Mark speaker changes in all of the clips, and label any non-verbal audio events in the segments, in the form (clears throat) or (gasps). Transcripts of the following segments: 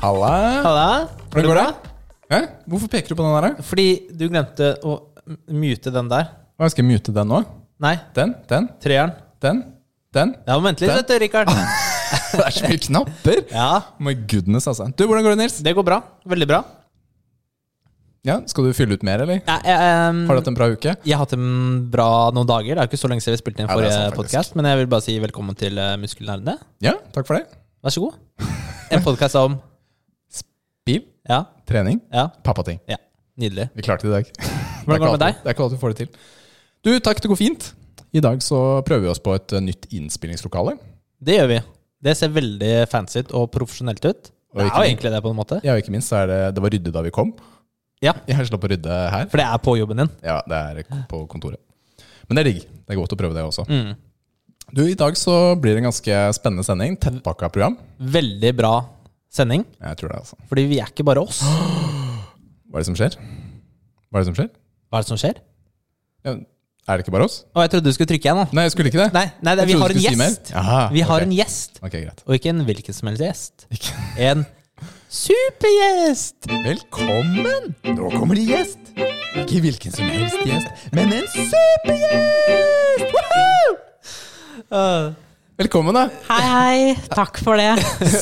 Speaker 1: Halla.
Speaker 2: Halla.
Speaker 1: Hvordan går det? Hæ? Hvorfor peker du på den der?
Speaker 2: Fordi du glemte å m- mute den der.
Speaker 1: Hva, Skal jeg mute den nå?
Speaker 2: Nei,
Speaker 1: Den, den,
Speaker 2: treeren.
Speaker 1: den, den. (laughs)
Speaker 2: Ja, vent litt,
Speaker 1: Den.
Speaker 2: vet du, Rikard.
Speaker 1: Det er så mye knapper!
Speaker 2: Ja,
Speaker 1: My goodness, altså. Du, hvordan går det, Nils?
Speaker 2: det går bra. Veldig bra.
Speaker 1: Ja, Skal du fylle ut mer, eller?
Speaker 2: Ja, jeg, ehm,
Speaker 1: Har du hatt en bra uke?
Speaker 2: jeg har hatt en bra noen dager. Det er jo ikke så lenge siden vi spilte inn
Speaker 1: Ja, det er
Speaker 2: forrige
Speaker 1: sant, faktisk.
Speaker 2: podcast, men jeg vil bare si velkommen til eh, Muskelnerdene.
Speaker 1: Ja, takk for det.
Speaker 2: Vær så god. En podkast om
Speaker 1: Bil,
Speaker 2: Ja,
Speaker 1: trening,
Speaker 2: ja,
Speaker 1: pappating.
Speaker 2: ja. Nydelig.
Speaker 1: Vi klarte det i dag. Det er
Speaker 2: (laughs) Hvordan går det
Speaker 1: ikke
Speaker 2: med deg?
Speaker 1: alltid- Det er ikke alltid vi får det til. Du, takk, det går fint. I dag så prøver vi oss på et eh, nytt innspillingslokale.
Speaker 2: Det gjør vi. Det ser veldig fancy ut og profesjonelt ut.
Speaker 1: Og
Speaker 2: Det er
Speaker 1: ikke
Speaker 2: jo
Speaker 1: minst-
Speaker 2: egentlig det, på en måte.
Speaker 1: Ja, og ikke minst så er det Det var rydde da vi kom.
Speaker 2: Ja.
Speaker 1: Jeg slapp å rydde her.
Speaker 2: For det er på jobben din.
Speaker 1: Ja, det er på kontoret. Men det er digg. Det er godt å prøve det også.
Speaker 2: Mm.
Speaker 1: Du, I dag så blir det en ganske spennende sending. Tettpakka program.
Speaker 2: Veldig bra sending.
Speaker 1: Jeg tror det, altså.
Speaker 2: Fordi vi er ikke bare oss.
Speaker 1: Hva er det som skjer? Hva er det som skjer?
Speaker 2: Hva er det som skjer?
Speaker 1: Ja, er det ikke bare oss?
Speaker 2: Å, jeg trodde du skulle trykke igjen, da.
Speaker 1: Nei, jeg skulle ikke det.
Speaker 2: Nei, nei det,
Speaker 1: Jeg
Speaker 2: vi
Speaker 1: trodde
Speaker 2: har
Speaker 1: du
Speaker 2: en
Speaker 1: skulle si
Speaker 2: gjest.
Speaker 1: mer. Aha,
Speaker 2: vi har
Speaker 1: ok.
Speaker 2: en gjest,
Speaker 1: Ok, greit.
Speaker 2: og ikke en hvilken som helst gjest.
Speaker 1: Ikke.
Speaker 2: En supergjest!
Speaker 1: Velkommen! Nå kommer det gjest. Ikke hvilken som helst gjest, men en supergjest! Woohoo!
Speaker 2: Uh,
Speaker 1: Velkommen, da.
Speaker 3: Hei, hei. Takk for det.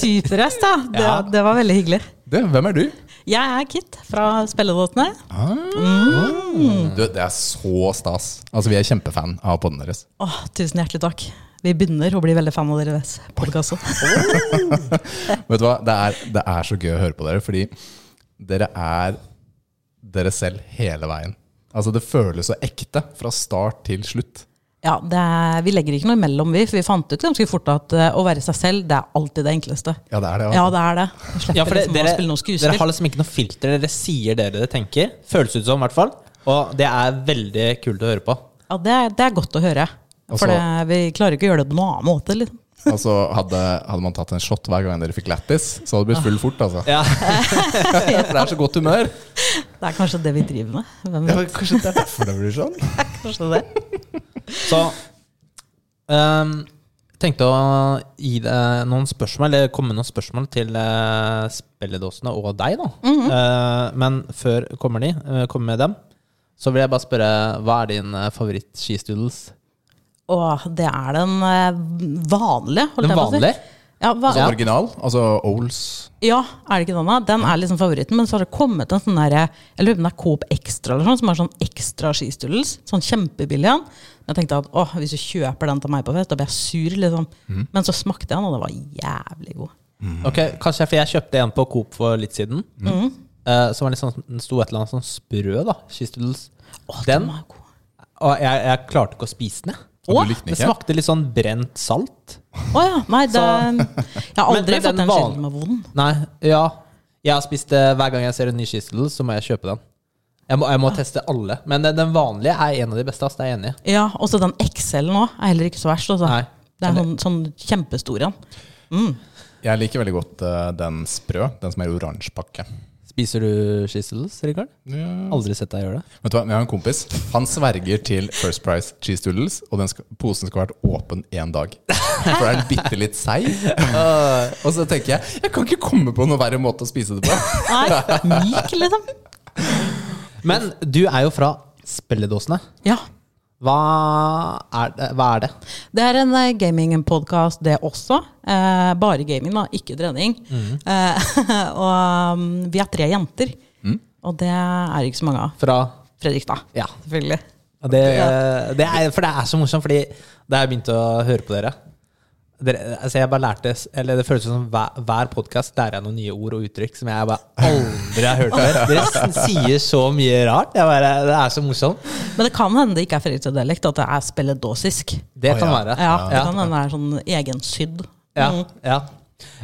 Speaker 3: Superøst, da. Det,
Speaker 2: Ja.
Speaker 3: det var veldig hyggelig.
Speaker 1: Du, hvem er du?
Speaker 3: Jeg er Kit fra Spelledåtene.
Speaker 1: Ah. du? Det er så stas. Altså, Vi er kjempefan av podden deres.
Speaker 3: Åh, tusen hjertelig takk. Vi begynner å bli veldig fan av deres podkast.
Speaker 1: Vet du hva? Det er, det er så gøy å høre på dere, fordi dere er dere selv hele veien. Altså, Det føles så ekte fra start til slutt.
Speaker 3: Ja, det er, vi legger ikke noe imellom, vi. For vi fant ut ganske fort at eh, å være seg selv, det er alltid det enkleste.
Speaker 1: Ja, det er det.
Speaker 3: (laughs) Ja,
Speaker 1: Altså.
Speaker 3: det er det. Vi slipper
Speaker 2: ja, for det,
Speaker 3: liksom
Speaker 2: dere,
Speaker 3: å spille noe
Speaker 2: dere
Speaker 3: skuespill.
Speaker 2: har liksom ikke noe filter. Dere sier det dere tenker. Føles ut som, i hvert fall. Og det er veldig kult å høre på.
Speaker 3: Ja, det, er- det er godt å høre.
Speaker 1: Altså-
Speaker 3: For det, vi klarer ikke å gjøre det på noen annen måte. Liksom.
Speaker 1: altså, hadde, hadde man tatt en shot hver gang dere fikk lættis, så hadde det blitt full fort. altså.
Speaker 2: Ja,
Speaker 1: For det er så godt humør.
Speaker 3: Det er kanskje det vi driver med. Hvem
Speaker 1: Ja,
Speaker 3: vet?
Speaker 1: kanskje det er derfor det blir sånn?
Speaker 3: Kanskje det.
Speaker 2: Så ehm, tenkte å gi deg noen spørsmål, eller komme med noen spørsmål til eh, spilledåsene og deg, da. Eh, men før kommer de, eh, kommer med dem, så vil jeg bare spørre hva er din eh, favoritt-skistuddels?
Speaker 3: Åh, det er den eh, vanlige, holdt
Speaker 2: Den
Speaker 3: jeg på å si.
Speaker 2: vanlige?
Speaker 3: Ja, hva,
Speaker 1: Altså original? Altså Ols?
Speaker 3: ja, er det ikke den da? Den er liksom favoritten, men så har det kommet en sånn der, jeg lurer på om det er Coop Extra eller sånn, som er sånn ekstra skistuddels, sånn kjempebillig en. Men jeg tenkte at, åh, hvis du kjøper den til meg på fest, da blir jeg sur liksom.
Speaker 2: Mm.
Speaker 3: Men så smakte jeg den, og det var jævlig god.
Speaker 1: Mhm.
Speaker 2: Ok, kanskje for jeg kjøpte en på Coop for litt siden. eh, som var litt sånn, den sto et eller annet sånn sprø, da. Skistuddels.
Speaker 3: Åh,
Speaker 2: Den?
Speaker 3: var god.
Speaker 2: Og jeg, jeg klarte ikke å spise den, jeg.
Speaker 1: Og du likte den
Speaker 2: Det
Speaker 1: ikke?
Speaker 2: smakte litt sånn brent salt.
Speaker 3: Åja, nei, det, jeg har
Speaker 2: Men-
Speaker 3: aldri
Speaker 2: men den
Speaker 3: fått en
Speaker 2: van-
Speaker 3: skild med vond.
Speaker 2: Nei, ja. Jeg har spist det hver gang jeg ser en ny skistel, så må jeg kjøpe den. Jeg må, jeg må teste alle. Men eh, den, den vanlige er en av de beste. ass, Det er jeg enig i.
Speaker 3: Ja, og så den XL nå, er heller ikke så verst, altså.
Speaker 2: Nei.
Speaker 3: Det er sånn, sånn kjempestor en.
Speaker 1: Jeg liker veldig godt eh, den sprø, den som er i oransje pakke.
Speaker 2: Spiser du skistels, Rikard? Aldri sett deg gjøre det.
Speaker 1: Vet du hva, Jeg har en kompis. Han sverger til First Price Cheese Doodles, og den skal, posen skal ha vært åpen én dag. For det er bitte litt
Speaker 2: (laughs)
Speaker 1: seig. og så tenker jeg jeg kan ikke komme på noen verre måte å spise det på.
Speaker 2: (laughs)
Speaker 3: Nei, myk liksom.
Speaker 2: Men du er jo fra spilledåsene.
Speaker 3: Ja,
Speaker 2: Hva er det? Hva er det?
Speaker 3: Det er en eh, gamingpodkast, det også. Eh, bare gaming, da, ikke trening.
Speaker 2: Mm.
Speaker 3: Eh, (laughs) og um, vi er tre jenter.
Speaker 2: Mm.
Speaker 3: Og det er ikke så mange av.
Speaker 2: Fra
Speaker 3: Fredrikstad,
Speaker 2: Ja.
Speaker 3: selvfølgelig.
Speaker 2: Og Det, eh, det er, for det er så morsomt, fordi da jeg begynte å høre på dere, dere altså jeg bare lærte, eller Det føles som hver, hver podkast lærer jeg noen nye ord og uttrykk som jeg bare aldri har hørt
Speaker 3: (laughs)
Speaker 2: før. Dere s- sier så mye rart. Jeg bare, det er så morsomt.
Speaker 3: Men det kan hende det ikke er fredrikstad-dialekt, at det er spelledåsisk.
Speaker 2: Det
Speaker 1: Å,
Speaker 2: kan
Speaker 1: ja.
Speaker 2: være.
Speaker 3: Ja, det
Speaker 2: ja.
Speaker 3: kan Mm. hende det er sånn egensydd.
Speaker 2: ja, ja.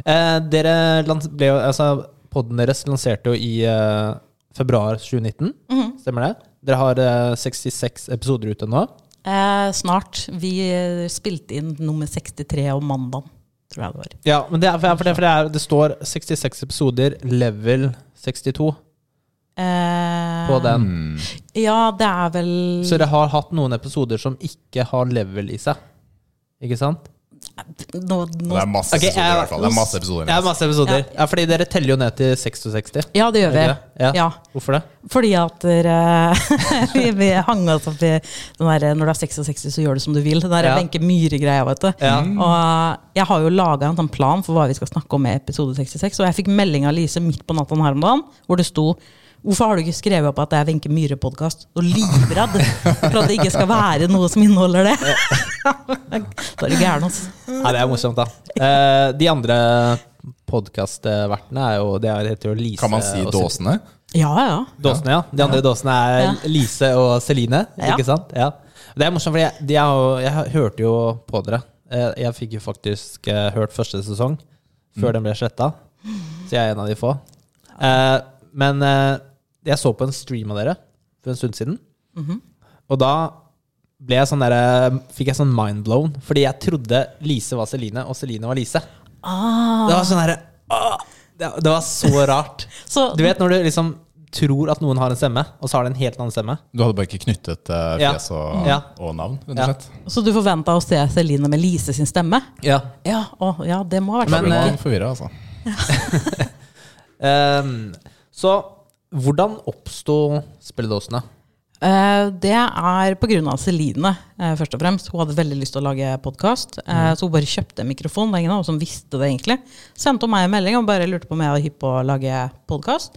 Speaker 2: Eh, dere lans- ble jo altså, Podden deres lanserte jo i eh, februar 2019,
Speaker 3: Mhm.
Speaker 2: stemmer det? Dere har eh, 66 episoder ute nå.
Speaker 3: Eh, snart. Vi eh, spilte inn nummer 63 om mandagen, tror jeg det var.
Speaker 2: Ja, men det, er, for det, for det, er, det står 66 episoder, level 62.
Speaker 3: Eh,
Speaker 2: på den.
Speaker 1: Mm.
Speaker 3: Ja, det er vel
Speaker 2: Så dere har hatt noen episoder som ikke har level i seg. Ikke sant?
Speaker 3: Nå,
Speaker 1: Det
Speaker 3: nå,
Speaker 1: er masse
Speaker 2: Ok,
Speaker 1: episoder i
Speaker 2: jeg-
Speaker 1: hvert fall. Det er masse episoder.
Speaker 2: Det er masse episoder.
Speaker 3: Ja.
Speaker 2: Ja, fordi dere teller jo ned til 66.
Speaker 3: ja, det gjør vi.
Speaker 2: Ikke det? Ja.
Speaker 3: Ja.
Speaker 2: Hvorfor det?
Speaker 3: Fordi at eh, (laughs) vi, vi hang oss opp i den der, Når du er 66, så gjør du som du vil. Den der
Speaker 2: Ja.
Speaker 3: Wenche Myhre-greia, vet du.
Speaker 2: Ja.
Speaker 3: Og eh, jeg har jo laga en sånn plan for hva vi skal snakke om i episode 66. Og jeg fikk melding av Lise midt på natta her om dagen, hvor det sto Hvorfor har du ikke skrevet opp at det er Wenche Myhre-podkast? Og livredd for at det ikke skal være noe som inneholder det. (laughs) da er du gæren, altså.
Speaker 2: Nei, det er morsomt, da. Eh, de andre podkastvertene er jo Det er- heter jo Lise
Speaker 1: Kan man si
Speaker 2: og Celine.
Speaker 1: dåsene?
Speaker 3: Ja, ja.
Speaker 2: Dåsene, ja. De andre dåsene er
Speaker 3: Ja.
Speaker 2: Lise og Celine,
Speaker 3: Ja.
Speaker 2: ikke sant? Ja. Det er morsomt, for jeg, de er jo, jeg hørte jo på dere. Eh, Jeg fikk jo faktisk eh, hørt første sesong før den ble sletta, så jeg er en av de få. Eh, Men eh, jeg så på en stream av dere for en stund siden,
Speaker 3: Mhm.
Speaker 2: og da ble jeg sånn der, fikk jeg sånn mindblown, fordi jeg trodde Lise var Celine, og Celine var Lise. Det var sånn derre ah, det, det var så rart.
Speaker 3: Så-
Speaker 2: Du vet når du liksom tror at noen har en stemme, og så har de en helt annen stemme.
Speaker 1: Du hadde bare ikke knyttet eh,
Speaker 2: Ja.
Speaker 1: fjes og,
Speaker 2: Ja.
Speaker 1: og navn, rett og
Speaker 2: Ja.
Speaker 1: slett?
Speaker 3: Så du forventa å se Celine med Lise sin stemme?
Speaker 2: Ja.
Speaker 3: Ja, å, ja det må ha vært
Speaker 1: Da blir
Speaker 2: Men, eh,
Speaker 1: man forvirra, altså.
Speaker 2: Ehm, så hvordan oppsto spilledåsene?
Speaker 3: Eh, Det er pga. Celine, eh, først og fremst. Hun hadde veldig lyst til å lage podkast, så hun bare kjøpte en mikrofon. Det er ingen av oss som visste det, egentlig. Sendte hun meg en melding og bare lurte på om jeg var hypp på å lage podkast.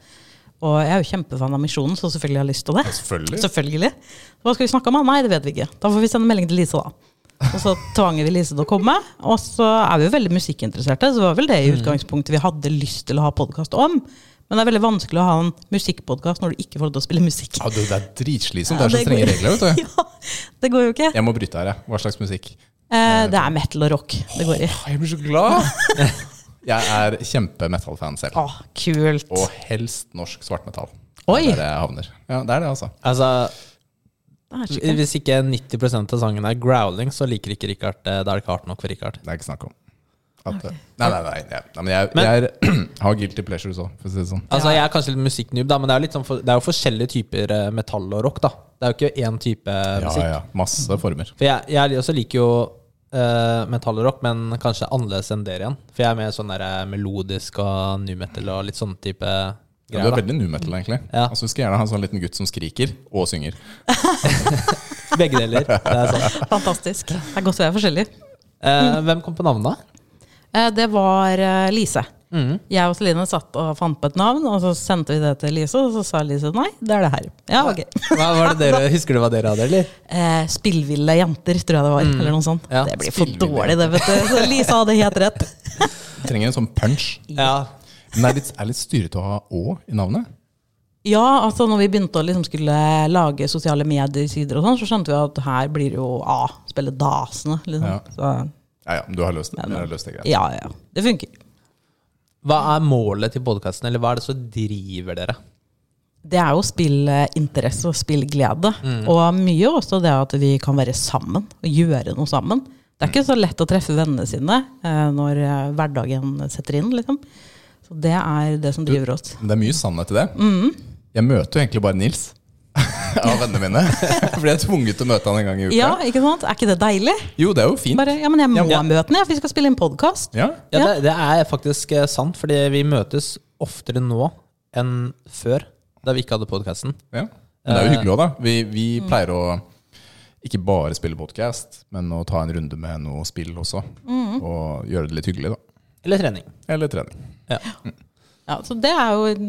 Speaker 3: Og jeg er jo kjempefan av Misjonen, så selvfølgelig har jeg lyst til det.
Speaker 1: selvfølgelig.
Speaker 3: Hva skal vi snakke om? da? Nei, det vet vi ikke. Da får vi sende melding til Lise, da. Og så tvang vi Lise til å komme. Og så er vi jo veldig musikkinteresserte, så det var vel det i utgangspunktet vi hadde lyst til å ha podkast om. Men det er veldig vanskelig å ha en musikkpodkast når du ikke får lov til å spille musikk.
Speaker 1: Ja, du, det er dritslitsomt.
Speaker 3: Ja,
Speaker 1: Det er så
Speaker 3: det
Speaker 1: strenge
Speaker 3: går-
Speaker 1: regler, vet du.
Speaker 3: (laughs) Ja, det går jo ikke.
Speaker 1: Jeg må bryte her, jeg. Hva slags musikk?
Speaker 2: (laughs)
Speaker 3: Eh, det er metal og rock det går i.
Speaker 1: Åh, Jeg blir så glad! Jeg er kjempe-metal-fan selv.
Speaker 3: Å, kult.
Speaker 1: Og helst norsk svartmetall.
Speaker 3: Oi.
Speaker 1: Det er der jeg havner. Ja, det er det, altså.
Speaker 2: Altså,
Speaker 3: Det er skikkelig.
Speaker 2: hvis ikke 90 av sangen er growling, så liker ikke Richard eh, Da er det ikke hardt nok for Richard.
Speaker 1: Det er ikke snakk om. At, Nei, nei, nei. nei, nei men jeg, jeg er, (clears throat) har guilty pleasures òg, for å si det sånn.
Speaker 2: Altså, Jeg er kanskje litt musikknoob, da, men det er, jo litt sånn for, det er jo forskjellige typer eh, metall og rock. da Det er jo ikke én type
Speaker 1: Ja,
Speaker 2: musikk.
Speaker 1: ja. Masse former.
Speaker 2: For jeg, jeg også liker jo eh, metal og rock, men kanskje annerledes enn dere igjen. For jeg er mer sånn der eh, melodisk og new metal og litt sånn type
Speaker 1: Ja, du er
Speaker 2: greier.
Speaker 1: veldig nu metal, egentlig.
Speaker 2: Ja.
Speaker 1: Altså, du skal gjerne ha en sånn liten gutt som skriker og synger.
Speaker 2: da. Begge deler.
Speaker 1: (laughs)
Speaker 2: Det er sånn.
Speaker 3: Fantastisk. Det er godt å være forskjellig.
Speaker 2: Eh, hvem kom på navnet?
Speaker 3: Eh, det var eh, Lise.
Speaker 1: Mm.
Speaker 3: Jeg og Celine satt og fant på et navn, og så sendte vi det til Lise, og så sa Lise nei, det er det her. Ja, ok.
Speaker 2: Hva var det dere, Husker du hva dere hadde, eller?
Speaker 3: Eh, spillville jenter, tror jeg det var. Eller noe sånt.
Speaker 2: Ja,
Speaker 3: Det blir for
Speaker 1: Mm. spillville
Speaker 3: dårlig, det, vet du. Så Lise hadde helt rett.
Speaker 1: (laughs) Trenger en sånn punch.
Speaker 2: Ja.
Speaker 1: Men det er litt, er litt styrete å ha Å i navnet.
Speaker 3: Ja, altså når vi begynte å liksom skulle lage sosiale medier-sider, og sånn, så skjønte vi at her blir det jo A, spille dasene. Liksom.
Speaker 1: Ja.
Speaker 3: Så
Speaker 1: Ja, ja, du har løst, dere har løst det greit.
Speaker 3: Ja, ja. Det funker.
Speaker 2: Hva er målet til podkasten, eller hva er det som driver dere?
Speaker 3: Det er jo spillinteresse og spillglede.
Speaker 1: Mm.
Speaker 3: Og mye også det at vi kan være sammen og gjøre noe sammen. Det er
Speaker 1: Mm.
Speaker 3: ikke så lett å treffe vennene sine eh, når eh, hverdagen setter inn, liksom. Så det er det som driver oss.
Speaker 1: Men det er mye sannhet i det. Jeg møter jo egentlig bare Nils (laughs) av vennene mine. (laughs) Fordi jeg er tvunget til å møte han en gang i uka.
Speaker 3: Ja, ikke sant? Er ikke det deilig?
Speaker 1: Jo, det er jo fint.
Speaker 3: Bare, ja, men jeg må
Speaker 2: Ja.
Speaker 3: møte den, ja, for vi skal spille inn podkast.
Speaker 1: Ja.
Speaker 2: Ja,
Speaker 3: Ja.
Speaker 2: Det, det er faktisk eh, sant, fordi vi møtes oftere nå enn før, da vi ikke hadde podkasten.
Speaker 1: ja. Men det er jo hyggelig òg, da. Vi, vi
Speaker 3: Mm.
Speaker 1: pleier å ikke bare spille podkast, men å ta en runde med noe spill også.
Speaker 3: Mm.
Speaker 1: Og gjøre det litt hyggelig, da.
Speaker 2: Eller trening.
Speaker 1: Eller trening.
Speaker 2: Ja.
Speaker 3: Ja, så det er jo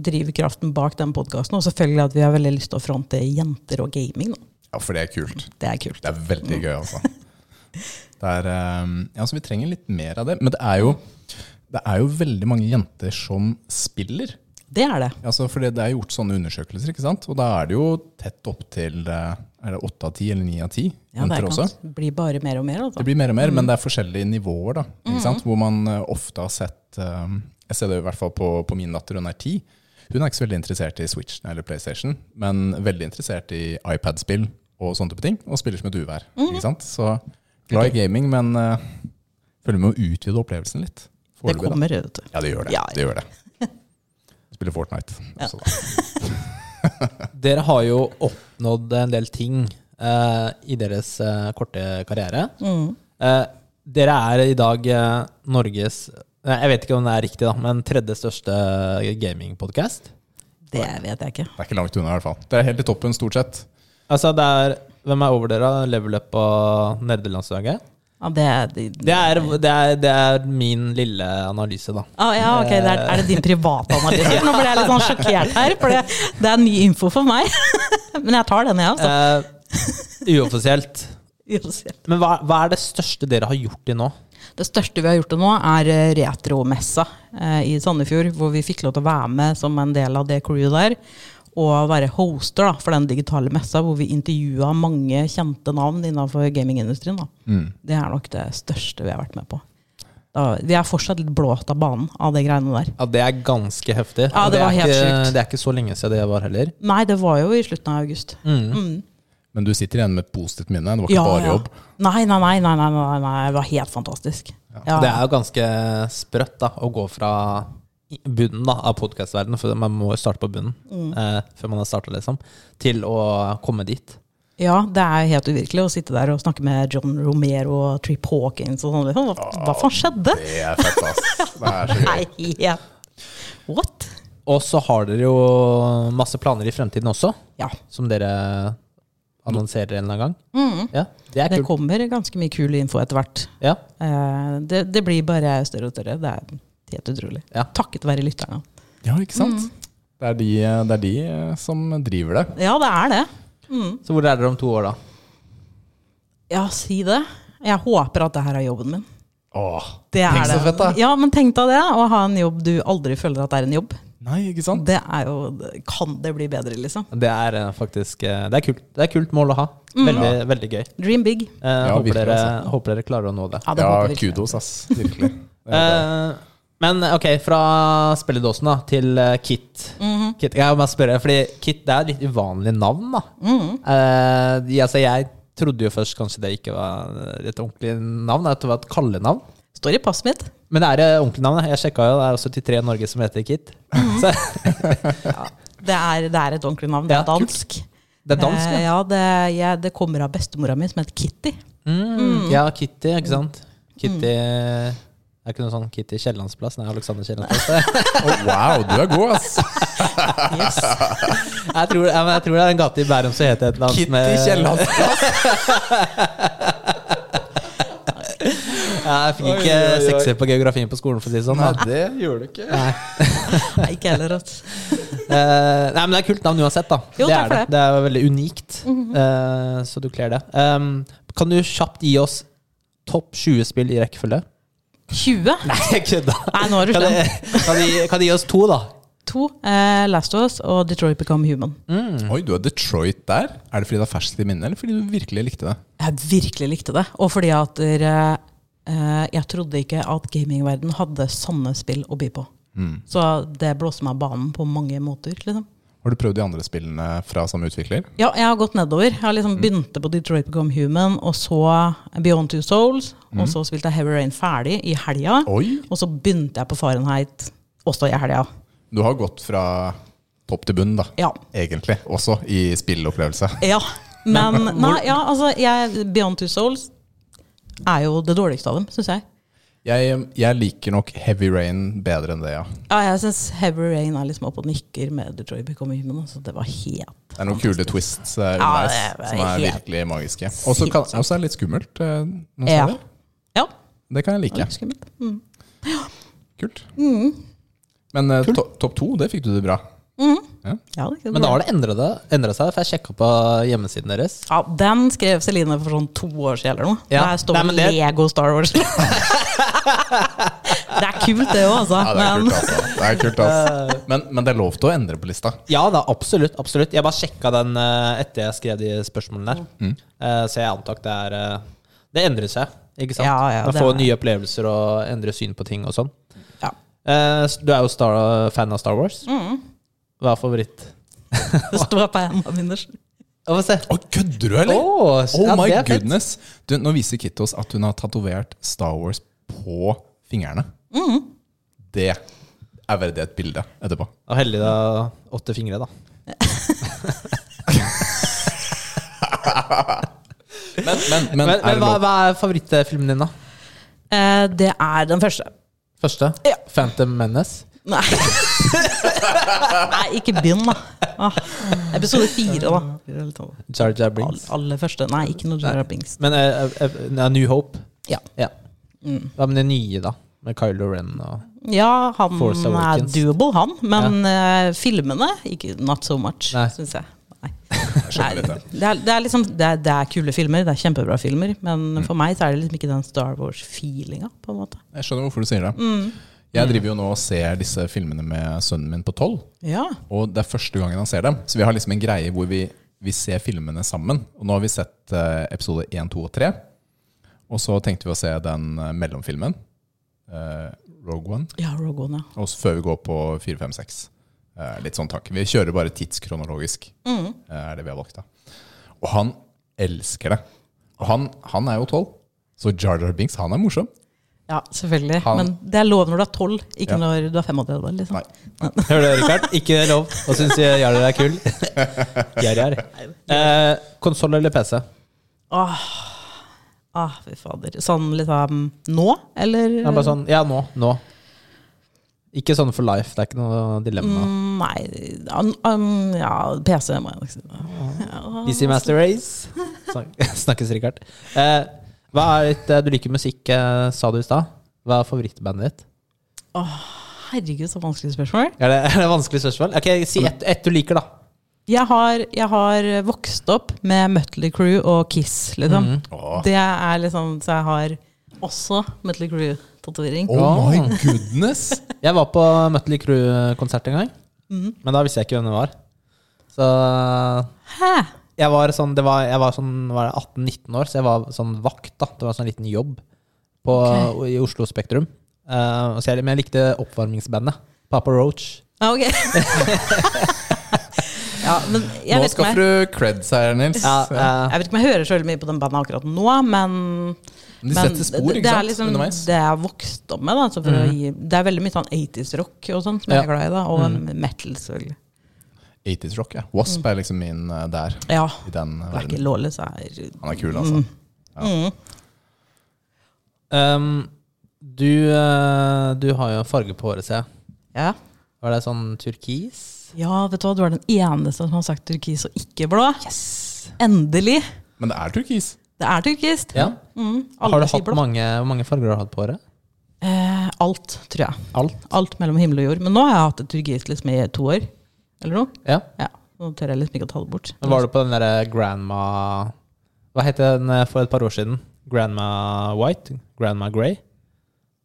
Speaker 3: drivkraften bak den podkasten. Og selvfølgelig at vi har veldig lyst til å fronte jenter og gaming. nå.
Speaker 1: Ja, for det er kult.
Speaker 3: Det er kult.
Speaker 1: Det er veldig gøy, altså.
Speaker 3: (laughs)
Speaker 1: Det er, eh, ja, så vi trenger litt mer av det. Men det er jo, det er jo veldig mange jenter som spiller.
Speaker 3: Det er det.
Speaker 1: Altså, for det, det er gjort sånne undersøkelser, ikke sant? og da er det jo tett opp til eh, er det 8 av 10 eller 9 av 10
Speaker 3: Ja, det
Speaker 1: jenter også.
Speaker 3: kan bli bare mer og mer. Altså.
Speaker 1: Det blir mer og mer, men det er forskjellige nivåer, da,
Speaker 3: Mm.
Speaker 1: ikke sant? hvor man eh, ofte har sett eh, Jeg ser det i hvert fall på, på min datter, hun er 10. Hun er ikke så veldig interessert i Switch eller PlayStation, men veldig interessert i iPad-spill og sånne type ting, og spiller som et uvær.
Speaker 3: Mm.
Speaker 1: ikke sant? Så glad i gaming, men eh, føler med å utvide opplevelsen litt.
Speaker 3: Det
Speaker 1: foreløpig, da.
Speaker 3: kommer, vet du.
Speaker 1: Ja, det gjør det.
Speaker 3: Ja.
Speaker 1: det, gjør
Speaker 3: (laughs)
Speaker 1: det. Spiller Fortnite. Også, da.
Speaker 2: Dere har jo oppnådd en del ting eh, i deres eh, korte karriere. Eh, Dere er i dag eh, Norges Nei, Jeg vet ikke om det er riktig, da, men tredje største gamingpodkast.
Speaker 3: Det vet jeg ikke.
Speaker 1: Det er ikke langt unna, i hvert fall. Det er helt i toppen, stort sett.
Speaker 2: Altså, det er Hvem er over dere? da? Level Up og Nerdelandslaget?
Speaker 3: Ja, det, det,
Speaker 2: Det er, det, er, det er min lille analyse, da.
Speaker 3: Ah, ja, ok, det er, er det din private analyse? Nå ble jeg litt sånn sjokkert her, for det, det er ny info for meg. (laughs) Men jeg tar den, jeg, altså.
Speaker 2: Eh, uoffisielt.
Speaker 3: Uansett.
Speaker 2: Men hva, hva er det største dere har gjort til nå?
Speaker 3: Det største vi har gjort til nå, er eh, retromessa eh, i Sandefjord. Hvor vi fikk lov til å være med som en del av det crewet der. Og være hoster da, for den digitale messa, hvor vi intervjua mange kjente navn innenfor gamingindustrien. Da. Det er nok det største vi har vært med på. Da, vi er fortsatt litt blåst av banen av de greiene der.
Speaker 2: Ja, Det er ganske heftig.
Speaker 3: Ja, det
Speaker 2: er
Speaker 3: var helt
Speaker 2: ikke,
Speaker 3: sjukt.
Speaker 2: det er ikke så lenge siden det var heller.
Speaker 3: Nei, det var jo i slutten av august. Mm.
Speaker 1: Men du sitter igjen med et positivt minne. Det var ikke bare jobb.
Speaker 3: Nei, nei, nei, nei, nei, nei, nei, det var helt fantastisk. Ja.
Speaker 2: Det er jo ganske sprøtt da, å gå fra i- bunnen da, av podcastverdenen, for man må jo starte på bunnen
Speaker 3: Mm.
Speaker 2: eh, før man har startet, liksom, til å komme dit.
Speaker 3: ja, det er helt uvirkelig å sitte der og snakke med John Romero og Trip Hawkins og sånn. Liksom. Hva, hva faen skjedde?
Speaker 1: Det er fett, ass. Det er så gøy.
Speaker 3: (laughs) Nei, ja. What?
Speaker 2: Og så har dere jo masse planer i fremtiden også,
Speaker 3: Ja.
Speaker 2: som dere annonserer en eller annen gang. Ja, det er
Speaker 3: Det
Speaker 2: kult.
Speaker 3: kommer ganske mye kul info etter hvert.
Speaker 2: Ja,
Speaker 3: Eh, Det, det blir bare større og større. Det er helt utrolig.
Speaker 2: Ja.
Speaker 3: Takket være lytterne.
Speaker 1: Ja, ikke sant?
Speaker 3: Mm.
Speaker 1: Det, er de, det er de eh, som driver det.
Speaker 3: Ja, det er det.
Speaker 2: så hvor er dere om to år da?
Speaker 3: Ja, si det. Jeg håper at det her er jobben min.
Speaker 1: Åh,
Speaker 3: Det er
Speaker 1: tenk så
Speaker 3: det.
Speaker 1: fett, da!
Speaker 3: Ja, men tenk deg det. Å ha en jobb du aldri føler at er en jobb.
Speaker 1: Nei, ikke sant?
Speaker 3: Det er jo Kan det bli bedre, liksom?
Speaker 2: Det er eh, faktisk, eh, det er kult. Det er et kult mål å ha. Veldig, veldig gøy.
Speaker 3: Dream big.
Speaker 2: Eh, håper,
Speaker 1: virkelig, altså.
Speaker 2: dere, håper dere klarer å nå det.
Speaker 3: Ja, det
Speaker 1: Ja,
Speaker 3: håper vi.
Speaker 1: kudos, ass. Virkelig. Det er bra.
Speaker 2: Eh, men ok, fra spilledåsen da, til eh, Kit. Kit. Jeg må bare spørre, fordi Kit det er et litt uvanlig navn. da. Eh, ja, altså, jeg trodde jo først kanskje det ikke var et ordentlig navn, at det var et kallenavn.
Speaker 3: Står i passet mitt.
Speaker 2: Men det er et ordentlig navn. da. Jeg sjekka jo, det er jo 73 i Norge som heter Kit. Så
Speaker 3: Det er, det er et ordentlig navn. Det
Speaker 2: Ja,
Speaker 3: er dansk.
Speaker 2: det er dansk,
Speaker 3: Eh,
Speaker 2: ja.
Speaker 3: ja, det, jeg, det kommer av bestemora mi, som heter Kitty.
Speaker 2: Mm, ja, Kitty, ikke sant? Kitty Det er ikke noe sånn Kitty Kiellandsplass? Nei, Alexander Kiellandsplass. (laughs)
Speaker 1: Å, wow, du er god, ass!
Speaker 3: Yes.
Speaker 2: Jeg tror, ja, men jeg tror det er en gate i Bærum som heter et eller annet
Speaker 1: Kitty Kielland.
Speaker 2: Ja, jeg fikk
Speaker 1: Oi,
Speaker 2: ikke
Speaker 1: oi, oi.
Speaker 2: sekser på geografien på skolen, for å si det sånn. da.
Speaker 1: det gjør du ikke.
Speaker 3: Nei, ikke heller. altså.
Speaker 2: Eh, nei, men det er kult navn uansett, da.
Speaker 3: Jo,
Speaker 2: det,
Speaker 3: takk
Speaker 2: er
Speaker 3: for Mhm.
Speaker 2: det. det er jo veldig unikt, Eh, så du kler det. Um, kan du kjapt gi oss topp 20 spill i rekkefølge? (laughs)
Speaker 3: 20?
Speaker 2: Nei, jeg kødda!
Speaker 3: Nei, nå er du
Speaker 2: Kan
Speaker 3: slem.
Speaker 2: du- kan du gi- kan du gi oss to, da?
Speaker 3: To. Eh, Last of Us og Detroit Become Human.
Speaker 1: Mm. Oi, du er Detroit der. Er det fordi det er ferskt i minnet, eller fordi du virkelig likte det?
Speaker 3: Jeg virkelig likte det. Og fordi at dere, eh, jeg trodde ikke at gamingverden hadde sånne spill å by på. Så det blåste meg av banen på mange måter. liksom.
Speaker 1: Har du prøvd de andre spillene fra samme utvikler?
Speaker 3: Ja, jeg har gått nedover. Jeg har liksom begynte på Detroit Become Human, og så Beyond Two Souls. Og så spilte jeg Heavy Rain ferdig i helga.
Speaker 1: Oi!
Speaker 3: Og så begynte jeg på Fahrenheit også i helga.
Speaker 1: Du har gått fra topp til bunn, da.
Speaker 3: Ja.
Speaker 1: Egentlig. Også i spillopplevelse.
Speaker 3: ja. Men nei, ja, altså, jeg, Beyond Two Souls er jo det dårligste av dem, syns jeg.
Speaker 1: Jeg, jeg liker nok Heavy Rain bedre enn det, ja.
Speaker 3: Ja, jeg syns Heavy Rain er liksom oppe og nikker med Detroit Become Human. Altså, det var helt
Speaker 1: Det er noen kule twists eh,
Speaker 3: Ja,
Speaker 1: underveis
Speaker 3: det er
Speaker 1: som er
Speaker 3: helt
Speaker 1: virkelig magiske. Og så kan- og så er det litt skummelt. eh, noen
Speaker 3: Ja.
Speaker 1: steder.
Speaker 3: Ja.
Speaker 1: Det kan jeg
Speaker 3: det var
Speaker 1: like.
Speaker 3: litt skummelt. Mm.
Speaker 1: Kult. Men eh, to, topp to, det fikk du det bra.
Speaker 3: Ja, det kunne
Speaker 2: Men da
Speaker 3: vært-
Speaker 2: har det endret det- endret seg, for jeg sjekka på hjemmesiden deres.
Speaker 3: ja, den skrev Celine for sånn to år siden eller noe.
Speaker 2: Ja.
Speaker 3: Der står
Speaker 2: Nei, men det-
Speaker 3: Lego Star Wars. det er kult, det òg, altså.
Speaker 1: Ja, det er kult, altså. Det er kult, altså. Men, men det er lov til å endre på lista.
Speaker 2: Ja da, absolutt. absolutt Jeg bare sjekka den eh, etter jeg skrev de spørsmålene der.
Speaker 1: Mm.
Speaker 2: Eh, så jeg antar at det er eh, Det endrer seg, ikke sant?
Speaker 3: Ja, ja,
Speaker 2: Man
Speaker 3: det
Speaker 2: får
Speaker 3: er-
Speaker 2: nye opplevelser og endrer syn på ting og sånn.
Speaker 3: Men, ja.
Speaker 2: Eh, s- du er jo star, fan av Star Wars.
Speaker 3: Mm.
Speaker 2: Hva er favoritt?
Speaker 3: Det står på en av mine
Speaker 2: Å, Få se.
Speaker 1: Å, kødder du, eller?
Speaker 2: Åh,
Speaker 1: oh
Speaker 2: ja,
Speaker 1: my
Speaker 2: det er fett.
Speaker 1: goodness! Du, nå viser Kit oss at hun har tatovert Star Wars på fingrene. Det er verdig et bilde etterpå.
Speaker 2: Og heldig du har åtte fingre,
Speaker 1: (laughs)
Speaker 2: da.
Speaker 1: Men, men, men,
Speaker 2: Men,
Speaker 1: er det
Speaker 2: men hva,
Speaker 1: lov?
Speaker 2: hva er favorittfilmen din, da?
Speaker 3: Eh, det er den første.
Speaker 2: Første?
Speaker 3: Ja.
Speaker 2: Phantom Menace.
Speaker 3: Nei. Nei, ikke begynn, da. Ah, episode fire, da. Fire eller tolv.
Speaker 2: Jar Jar
Speaker 3: All,
Speaker 2: Brinks.
Speaker 3: aller første. Nei, ikke noe Jar Jar Binks.
Speaker 2: Men eh, eh, eh, New Hope.
Speaker 3: Ja.
Speaker 2: Ja. Hva med det nye, da? Med Kylo Ren og
Speaker 3: ja, han
Speaker 2: Force
Speaker 3: er
Speaker 2: Awakens.
Speaker 3: doable, han. Men eh, filmene, ikke not so much,
Speaker 2: Nei.
Speaker 3: syns jeg. Nei.
Speaker 2: (laughs)
Speaker 3: Nei, det, er, det, er liksom, det, er, det er kule filmer, det er kjempebra filmer,
Speaker 2: Mm.
Speaker 3: men for meg så er det liksom ikke den Star Wars-feelinga. på en måte
Speaker 1: Jeg skjønner hvorfor du sier det. Jeg driver jo nå og ser disse filmene med sønnen min på tolv.
Speaker 3: Ja,
Speaker 1: Og det er første gangen han ser dem. Så vi har liksom en greie hvor vi, vi ser filmene sammen. Og nå har vi sett eh, episode 1, 2 og 3. Og så tenkte vi å se den eh, mellomfilmen. eh, Rogue One.
Speaker 3: ja Rogue One, ja.
Speaker 1: Og så før vi går på 4, 5, 6. Eh, litt sånn takk. Vi kjører bare tidskronologisk.
Speaker 3: Mm.
Speaker 1: eh, er det vi har valgt da. Og han elsker det. Og han, han er jo 12. Så Jar Jar Binks, han er morsom.
Speaker 3: Ja, selvfølgelig.
Speaker 1: Han-
Speaker 3: Men det er lov når du er tolv, ikke
Speaker 1: Ja.
Speaker 3: når du er 35. liksom
Speaker 1: Nei.
Speaker 2: Hører du, Rikard? Ikke lov å synes Jar Jar er kul. Jar Jar. Eh, Konsoll eller PC?
Speaker 3: Åh, ah, fy fader. Sånn liksom nå, eller?
Speaker 2: Det er bare sånn, ja, nå. Nå. Ikke sånn for life. Det er ikke noe dilemma.
Speaker 3: Mm, Nei, an- an- ja, PC må jeg nok si. Ja.
Speaker 2: Easy Master Race. Snak- (laughs) Snakkes, Rikard. Eh, hva er ditt, eh, du liker musikk, eh, sa du i stad. Hva er favorittbandet ditt?
Speaker 3: Herregud, så vanskelig spørsmål.
Speaker 2: Er det, (laughs) er det et vanskelig spørsmål? Ok, Si ett ett du liker, da.
Speaker 3: Jeg har, jeg har vokst opp med Mutley Crew og Kiss, liksom.
Speaker 1: Åh.
Speaker 3: Det er liksom Så jeg har også Mutley Crew-tatovering.
Speaker 1: Oh my goodness!
Speaker 2: Jeg var på Mutley Crew-konsert en gang, men da visste jeg ikke hvem det var. Så
Speaker 3: Hæ?
Speaker 2: jeg var sånn, det var, jeg var sånn var det 18-19 år, så jeg var sånn vakt. da Det var sånn liten jobb på, i Oslo Spektrum. Eh, så jeg, men jeg likte oppvarmingsbandet. Papa Roach.
Speaker 3: Ja, ok. (laughs) ja, men jeg
Speaker 1: Nå
Speaker 3: vet, ikke om
Speaker 1: skaffer
Speaker 3: jeg,
Speaker 1: du creds her, Nils.
Speaker 2: Ja, eh,
Speaker 3: jeg vet ikke om jeg hører så veldig mye på den bandet akkurat nå, men
Speaker 1: Men de
Speaker 3: men
Speaker 1: setter spor,
Speaker 3: det-
Speaker 1: ikke
Speaker 3: det er
Speaker 1: sant?
Speaker 3: liksom
Speaker 1: Underveis. Mm.
Speaker 3: Det jeg har vokst opp med. Da, så for å gi, det er veldig mye sånn 80s-rock og sånn som jeg
Speaker 2: Ja.
Speaker 3: er glad i. da Og
Speaker 1: Mm.
Speaker 3: metal, selvfølgelig.
Speaker 1: 80s rock, ja. Wasp er liksom min eh, der.
Speaker 3: Ja.
Speaker 1: I den
Speaker 3: Blackie
Speaker 1: verden.
Speaker 3: Lawless er
Speaker 1: Han er kul, altså.
Speaker 3: Mm.
Speaker 2: ehm, du, eh, du har jo en farge på håret, ser jeg.
Speaker 3: ja.
Speaker 2: Var det sånn turkis?
Speaker 3: ja, vet du hva, du er den eneste som har sagt turkis og ikke blå. Endelig!
Speaker 1: Men det er turkis.
Speaker 3: Det er turkist.
Speaker 2: Ja.
Speaker 3: Mm, alle
Speaker 2: Har du
Speaker 3: sier
Speaker 2: hatt
Speaker 3: blå.
Speaker 2: mange, hvor mange farger har du hatt på håret?
Speaker 3: Eh, alt, tror jeg.
Speaker 2: Alt?
Speaker 3: Alt mellom himmel og jord. Men nå har jeg hatt et turkist liksom i to år. Eller noe.
Speaker 2: Ja.
Speaker 3: Ja, Nå tør jeg liksom ikke å ta det bort.
Speaker 2: Men var du på den derre grandma Hva het den eh, for et par år siden? Grandma White? Grandma Grey?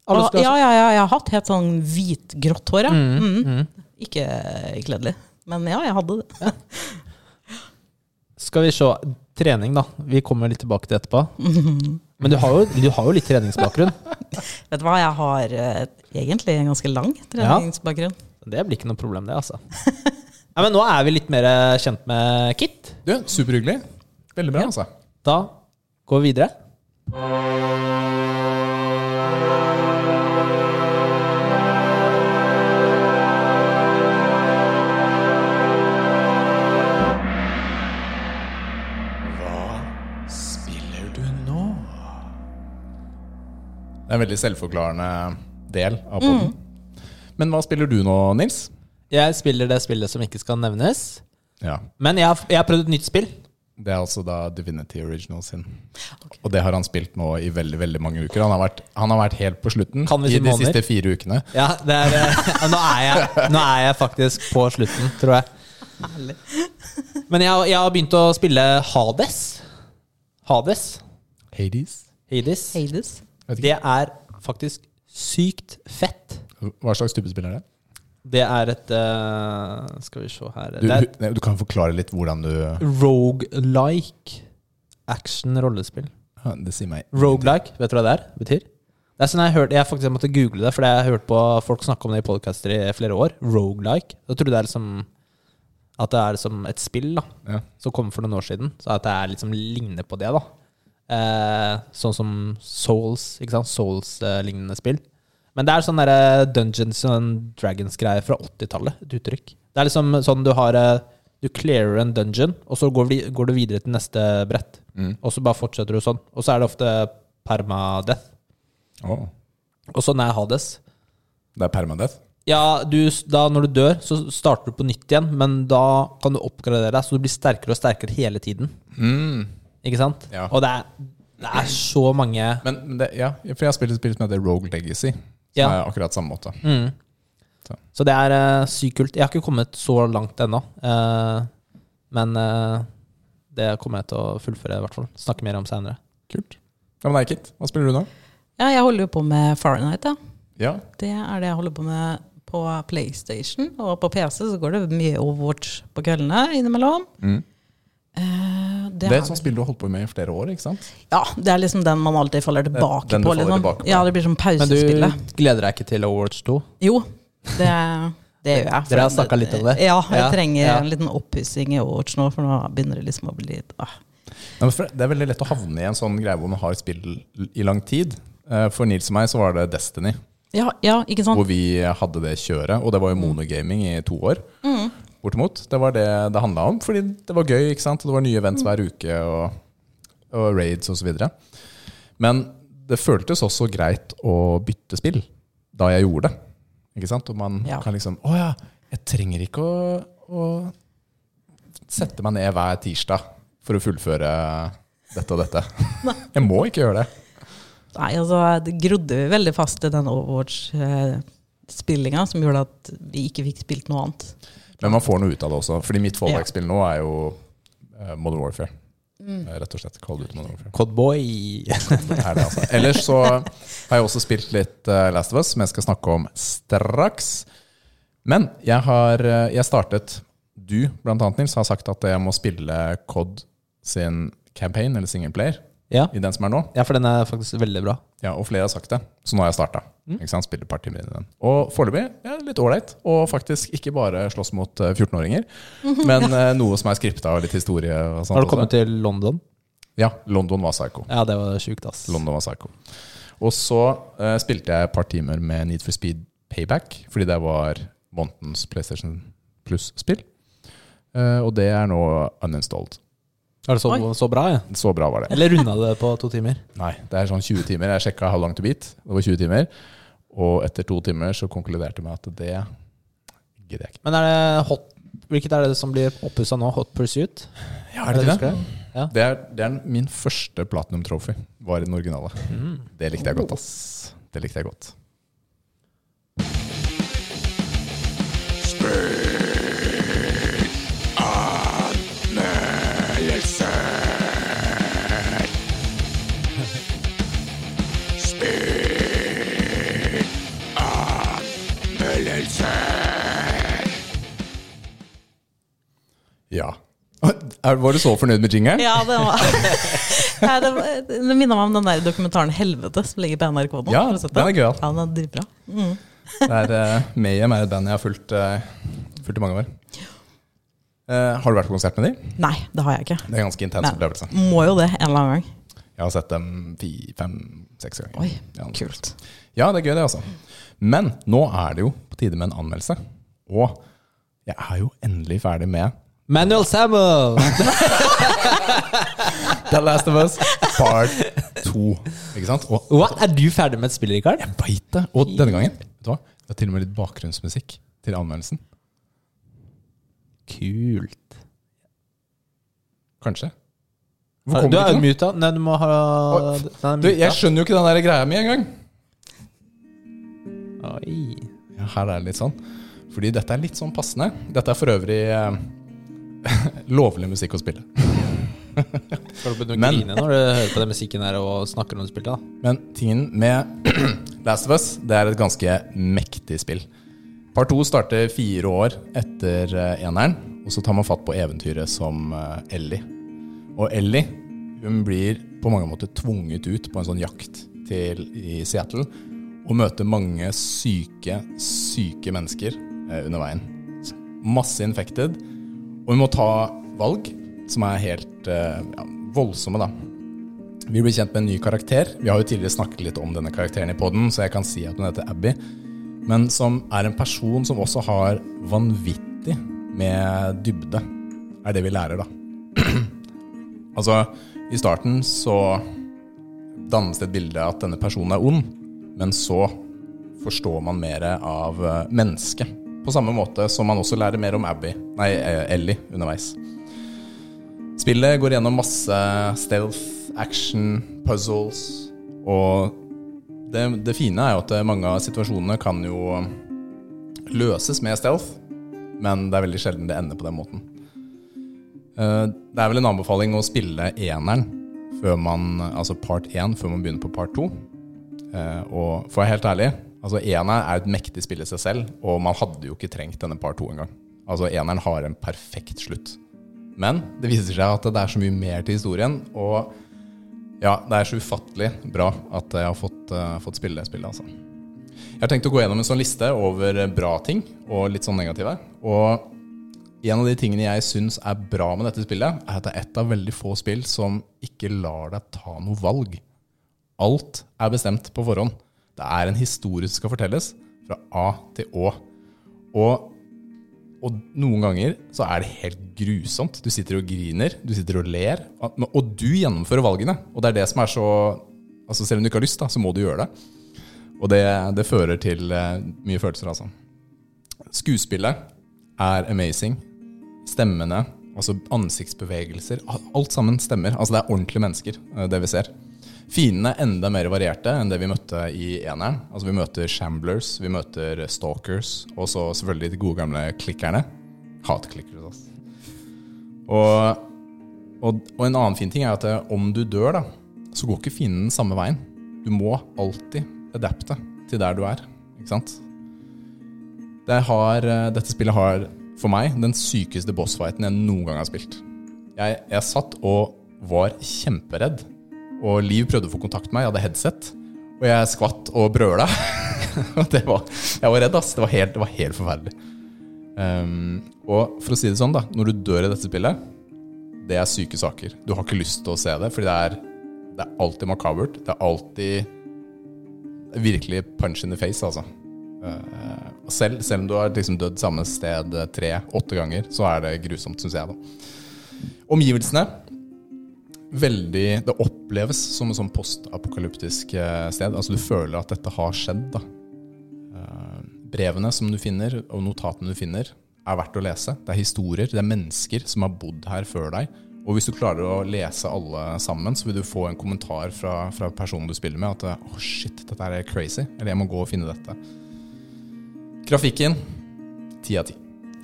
Speaker 2: Alle
Speaker 3: Og-
Speaker 2: skulle
Speaker 3: Ah, ja,
Speaker 2: ha
Speaker 3: ja, ja, jeg har hatt helt sånn hvit-grått hår, ja.
Speaker 2: Mm,
Speaker 3: Mm.
Speaker 2: mm.
Speaker 3: Ikke gledelig. Men ja, jeg hadde det.
Speaker 2: Skal vi se. Trening, da. Vi kommer litt tilbake til etterpå.
Speaker 3: (laughs)
Speaker 2: Men du har jo, du har jo litt treningsbakgrunn.
Speaker 3: Vet du hva, jeg har eh, egentlig en ganske lang treningsbakgrunn.
Speaker 2: Det blir ikke noe problem, det,
Speaker 3: (laughs)
Speaker 2: altså. Nei, men nå er vi litt mer eh, kjent med Kit.
Speaker 1: Du, superhyggelig. Veldig bra, altså.
Speaker 2: Da går vi videre.
Speaker 1: Spiller du nå? Det er en veldig selvforklarende del av poden. Men hva spiller du nå, Nils?
Speaker 2: Jeg spiller det spillet som ikke skal nevnes.
Speaker 1: Ja,
Speaker 2: Men jeg har, jeg har prøvd et nytt spill.
Speaker 1: Det er altså da Divinity Original sin. Og det har han spilt nå i veldig veldig mange uker. Han har vært, han har vært helt på slutten
Speaker 2: Kan vi si
Speaker 1: i de
Speaker 2: måneder?
Speaker 1: siste fire ukene.
Speaker 2: Ja, det er, eh, (laughs) nå, er jeg, nå er jeg faktisk på slutten, tror jeg. Men jeg, har- jeg har begynt å spille Hades. Hades.
Speaker 1: Hades?
Speaker 2: Hades.
Speaker 3: Hades.
Speaker 2: Det er faktisk sykt fett.
Speaker 1: Hva slags type spiller er det?
Speaker 2: Det er et eh, Skal vi se her
Speaker 1: Du,
Speaker 2: Det er et
Speaker 1: nei, du kan forklare litt hvordan du
Speaker 2: rogelike action-rollespill.
Speaker 1: Ja, Det sier meg
Speaker 2: Roguelike, vet du hva det er? Betyr? Det er sånn jeg, hørte, jeg faktisk måtte google det, for jeg har hørt på folk snakke om det i podcaster i flere år. Roguelike. Da trodde jeg liksom at det er som et spill da,
Speaker 1: Ja.
Speaker 2: som kom for noen år siden. Så at det er liksom ligner på det. da. Eh, sånn som Souls, ikke sant? Souls-lignende spill. Men det er sånn derre Dungeons and Dragons-greie fra 80-tallet. Et uttrykk. Det er liksom sånn du har eh, Du clearer en dungeon, og så går, vi, går du videre til neste brett. Og så bare fortsetter du sånn. Og så er det ofte permadeath.
Speaker 1: Å,
Speaker 2: Og sånn er Hades.
Speaker 1: Det er permadeath?
Speaker 2: Ja, du, da når du dør, så starter du på nytt igjen, men da kan du oppgradere deg, så du blir sterkere og sterkere hele tiden.
Speaker 1: Mm.
Speaker 2: Ikke sant?
Speaker 1: Ja.
Speaker 2: Og det er, det er så mange
Speaker 1: Men men det, ja, for jeg har spilt et spill som heter Rogue Legacy. Som
Speaker 2: Ja.
Speaker 1: er akkurat samme måte.
Speaker 2: Mm. Så det er eh, sykt kult. Jeg har ikke kommet så langt ennå, eh, men eh, det kommer jeg til å fullføre, i hvert fall. Snakke mer om seinere.
Speaker 1: Kult. Ja, men Eikit, hva spiller du nå?
Speaker 3: Ja, jeg holder jo på med Fahrenheit, da.
Speaker 1: Ja,
Speaker 3: Det er det jeg holder på med på PlayStation. Og på PC så går det mye Overwatch på kveldene innimellom. Eh, det
Speaker 1: Mm. Det er sånn et
Speaker 3: er-
Speaker 1: sånt spill du har holdt på med i flere år, ikke sant?
Speaker 3: Ja, det er liksom den man alltid faller tilbake
Speaker 1: Den du
Speaker 3: på.
Speaker 1: faller
Speaker 3: Liksom.
Speaker 1: tilbake på.
Speaker 3: Ja, det blir som
Speaker 2: Men du
Speaker 3: pausespillet.
Speaker 2: gleder deg ikke til Overwatch 2?
Speaker 3: Jo, det, det gjør jeg.
Speaker 2: Dere har snakket litt om det.
Speaker 3: Ja, jeg
Speaker 2: Ja,
Speaker 3: trenger
Speaker 2: ja.
Speaker 3: en liten oppussing i Overwatch nå, for nå begynner det liksom å bli litt ah.
Speaker 1: Nei, men for Det er veldig lett å havne i en sånn greie hvor man har et spill i lang tid. Eh, For Nils og meg så var det Destiny,
Speaker 3: ja, ja, ikke sant?
Speaker 1: hvor vi hadde det kjøret. Og det var jo monogaming i to år. Bortimot. Det var det det handla om, fordi det var gøy, ikke sant? Og det var nye events hver uke, og, og raids osv. Men det føltes også greit å bytte spill da jeg gjorde det. Ikke sant? Og man
Speaker 3: Ja.
Speaker 1: kan liksom Å ja, jeg trenger ikke å, å sette meg ned hver tirsdag for å fullføre dette og dette. Jeg må ikke gjøre det.
Speaker 3: Nei, altså, det grodde vi veldig fast i den Overwatch-spillinga, som gjorde at vi ikke fikk spilt noe annet.
Speaker 1: Men man får noe ut av det også. Fordi mitt fallback-spill nå er jo eh, Modern Warfare. Eh, Rett og slett. Call of Duty Modern Warfare.
Speaker 2: Codboy.
Speaker 1: Det er det, altså. Ellers så har jeg også spilt litt eh, Last of Us, som jeg skal snakke om straks. Men jeg har eh, jeg startet Du, blant annet, Nils, har sagt at jeg må spille COD sin campaign, eller singleplayer,
Speaker 2: ja.
Speaker 1: i den som er nå.
Speaker 2: ja, for den er faktisk veldig bra.
Speaker 1: Ja, og flere har sagt det. Så nå har jeg starta.
Speaker 2: Mm.
Speaker 1: Ikke sant? Spiller et par timer inn i den. Og foreløpig ja, litt ålreit. Og faktisk ikke bare slåss mot eh,
Speaker 2: (laughs)
Speaker 1: 14-åringer, men eh, noe som er skripta og litt historie. Og sånt
Speaker 2: Har du
Speaker 1: også.
Speaker 2: kommet til London?
Speaker 1: Ja. London var psycho.
Speaker 2: Ja, det var sjukt, ass.
Speaker 1: London var psycho. Og så eh, spilte jeg et par timer med Need for Speed Payback, fordi det var månedens PlayStation Plus-spill. Eh, og det er nå uninstalled.
Speaker 2: Er det så,
Speaker 3: Oi.
Speaker 2: så bra, ja?
Speaker 1: Så bra var det.
Speaker 2: Eller runda du det på to timer?
Speaker 1: Nei, det er sånn 20 timer. Jeg sjekka how long to beat. Det var 20 timer. Og etter to timer så konkluderte jeg med at det gidder jeg ikke.
Speaker 2: Men er det hot Hvilket er det som blir oppussa nå? Hot Pursuit?
Speaker 1: Ja, er det
Speaker 2: Husker
Speaker 1: det?
Speaker 2: jeg? Ja.
Speaker 1: Det er, det er min første platinum trophy. Var i den originale. Det likte jeg godt, ass. Det likte jeg godt. Ja. (laughs) Er- Var du så fornøyd med jingeren?
Speaker 3: Ja, det var (laughs) Nei, det, var- det minner meg om den der dokumentaren 'Helvete' som ligger på NRK nå.
Speaker 1: Ja,
Speaker 3: Har du sett
Speaker 1: den er gøyal.
Speaker 3: Ja, den er dritbra.
Speaker 1: Det er eh, Mayhem er et band jeg har fulgt, eh, fulgt i mange år. Eh, har du vært på konsert med dem?
Speaker 3: Nei, det har jeg ikke.
Speaker 1: Det er en ganske intens
Speaker 3: Men
Speaker 1: opplevelse.
Speaker 3: må jo det en eller annen gang.
Speaker 1: Jeg har sett dem fem-seks ganger.
Speaker 3: Oi,
Speaker 1: Ja,
Speaker 3: kult.
Speaker 1: Ja, det er gøy det, altså. Men nå er det jo på tide med en anmeldelse. Og jeg er jo endelig ferdig med
Speaker 2: Manuel Samuel!
Speaker 1: The Last of Us part 2. Ikke sant? Og
Speaker 2: Hva? Er du ferdig med et spill, Rikard?
Speaker 1: jeg veit det! Og denne gangen vet du hva? Det er til og med litt bakgrunnsmusikk til anmeldelsen.
Speaker 2: Kult.
Speaker 1: Kanskje. Hvor
Speaker 2: Du
Speaker 1: kommer
Speaker 2: er
Speaker 1: det ikke noe?
Speaker 2: muta. Nei, du må ha
Speaker 1: Oi,
Speaker 2: Den er
Speaker 1: Du, jeg
Speaker 2: muta.
Speaker 1: skjønner jo ikke den der greia mi engang.
Speaker 2: Oi.
Speaker 1: Ja, her er det litt sånn. Fordi dette er litt sånn passende. Dette er for øvrig eh, (laughs) lovlig musikk å spille.
Speaker 2: Skal du begynne å
Speaker 1: Men-
Speaker 2: grine når du hører på den musikken her og snakker om spillet? da?
Speaker 1: Men tingen med (clears throat) Last of Us, det er et ganske mektig spill. Part 2 starter fire år etter eh, eneren, og så tar man fatt på eventyret som eh, Ellie. Og Ellie hun blir på mange måter tvunget ut på en sånn jakt til, i Seattle og møter mange syke, syke mennesker eh, under veien. Masse infected. Og hun må ta valg som er helt eh, ja, voldsomme, da. Vi blir kjent med en ny karakter. Vi har jo tidligere snakket litt om denne karakteren i podden, så jeg kan si at hun heter Abby. Men som er en person som også har vanvittig med dybde, er det vi lærer, da. (clears throat) altså, i starten så dannes det et bilde at denne personen er ond, Men så forstår man mer av eh, mennesket. På samme måte som man også lærer mer om Abby, nei, eh, Ellie underveis. Spillet går gjennom masse stealth, action, puzzles. Og det, det fine er jo at mange av situasjonene kan jo løses med stealth, men det er veldig sjelden det ender på den måten. Eh, Det er vel en anbefaling å spille eneren, før man, altså part 1, før man begynner på part 2. Og for å være helt ærlig, altså eneren er et mektig spill i seg selv, og man hadde jo ikke trengt denne part 2 engang. Altså eneren har en perfekt slutt. Men det viser seg at det er så mye mer til historien, og ja, det er så ufattelig bra at jeg har fått, eh, fått spille det spillet, altså. Jeg har tenkt å gå gjennom en sånn liste over bra ting, og litt sånn negative. Og en av de tingene jeg syns er bra med dette spillet, er at det er et av veldig få spill som ikke lar deg ta noe valg. Alt er bestemt på forhånd. Det er en historie som skal fortelles, fra A til Å. Og, og noen ganger så er det helt grusomt. Du sitter og griner, du sitter og ler, og, og du gjennomfører valgene. Og det er det som er så Altså selv om du ikke har lyst, da, så må du gjøre det. Og det, det fører til eh, mye følelser, altså. Skuespillet er amazing. Stemmene, altså ansiktsbevegelser, alt sammen stemmer. Altså det er ordentlige mennesker, eh, det vi ser. Fiendene er enda mer varierte enn det vi møtte i eneren. Altså vi møter shamblers, vi møter stalkers, og så selvfølgelig de gode gamle klikkerne. Hatklikkere, altså. Og, og, og en annen fin ting er at eh, om du dør, da, så går ikke fienden samme veien. Du må alltid adapte til der du er, ikke sant? Det har, eh, dette spillet har for meg den sykeste bossfighten jeg noen gang har spilt. Jeg, jeg satt og var kjemperedd, og Liv prøvde å få kontakt med meg. Jeg hadde headset, og jeg skvatt og brøla. (laughs) Og det var, jeg var redd, ass. Det var helt, det var helt forferdelig. Ehm, og for å si det sånn, da. Når du dør i dette spillet, det er syke saker. Du har ikke lyst til å se det, fordi det er, det er alltid makabert. Det er alltid virkelig punch in the face, altså. Eh, selv, selv om du har liksom dødd samme sted tre-åtte ganger, så er det grusomt, syns jeg. da. Omgivelsene veldig, Det oppleves som et sånn postapokalyptisk eh, sted. Altså Du føler at dette har skjedd. da. Eh, Brevene som du finner, og notatene du finner, er verdt å lese. Det er historier, det er mennesker som har bodd her før deg. Og hvis du klarer å lese alle sammen, så vil du få en kommentar fra, fra personen du spiller med, at eh, «Åh, shit, dette her er crazy. Eller jeg må gå og finne dette. Grafikken 10 av 10.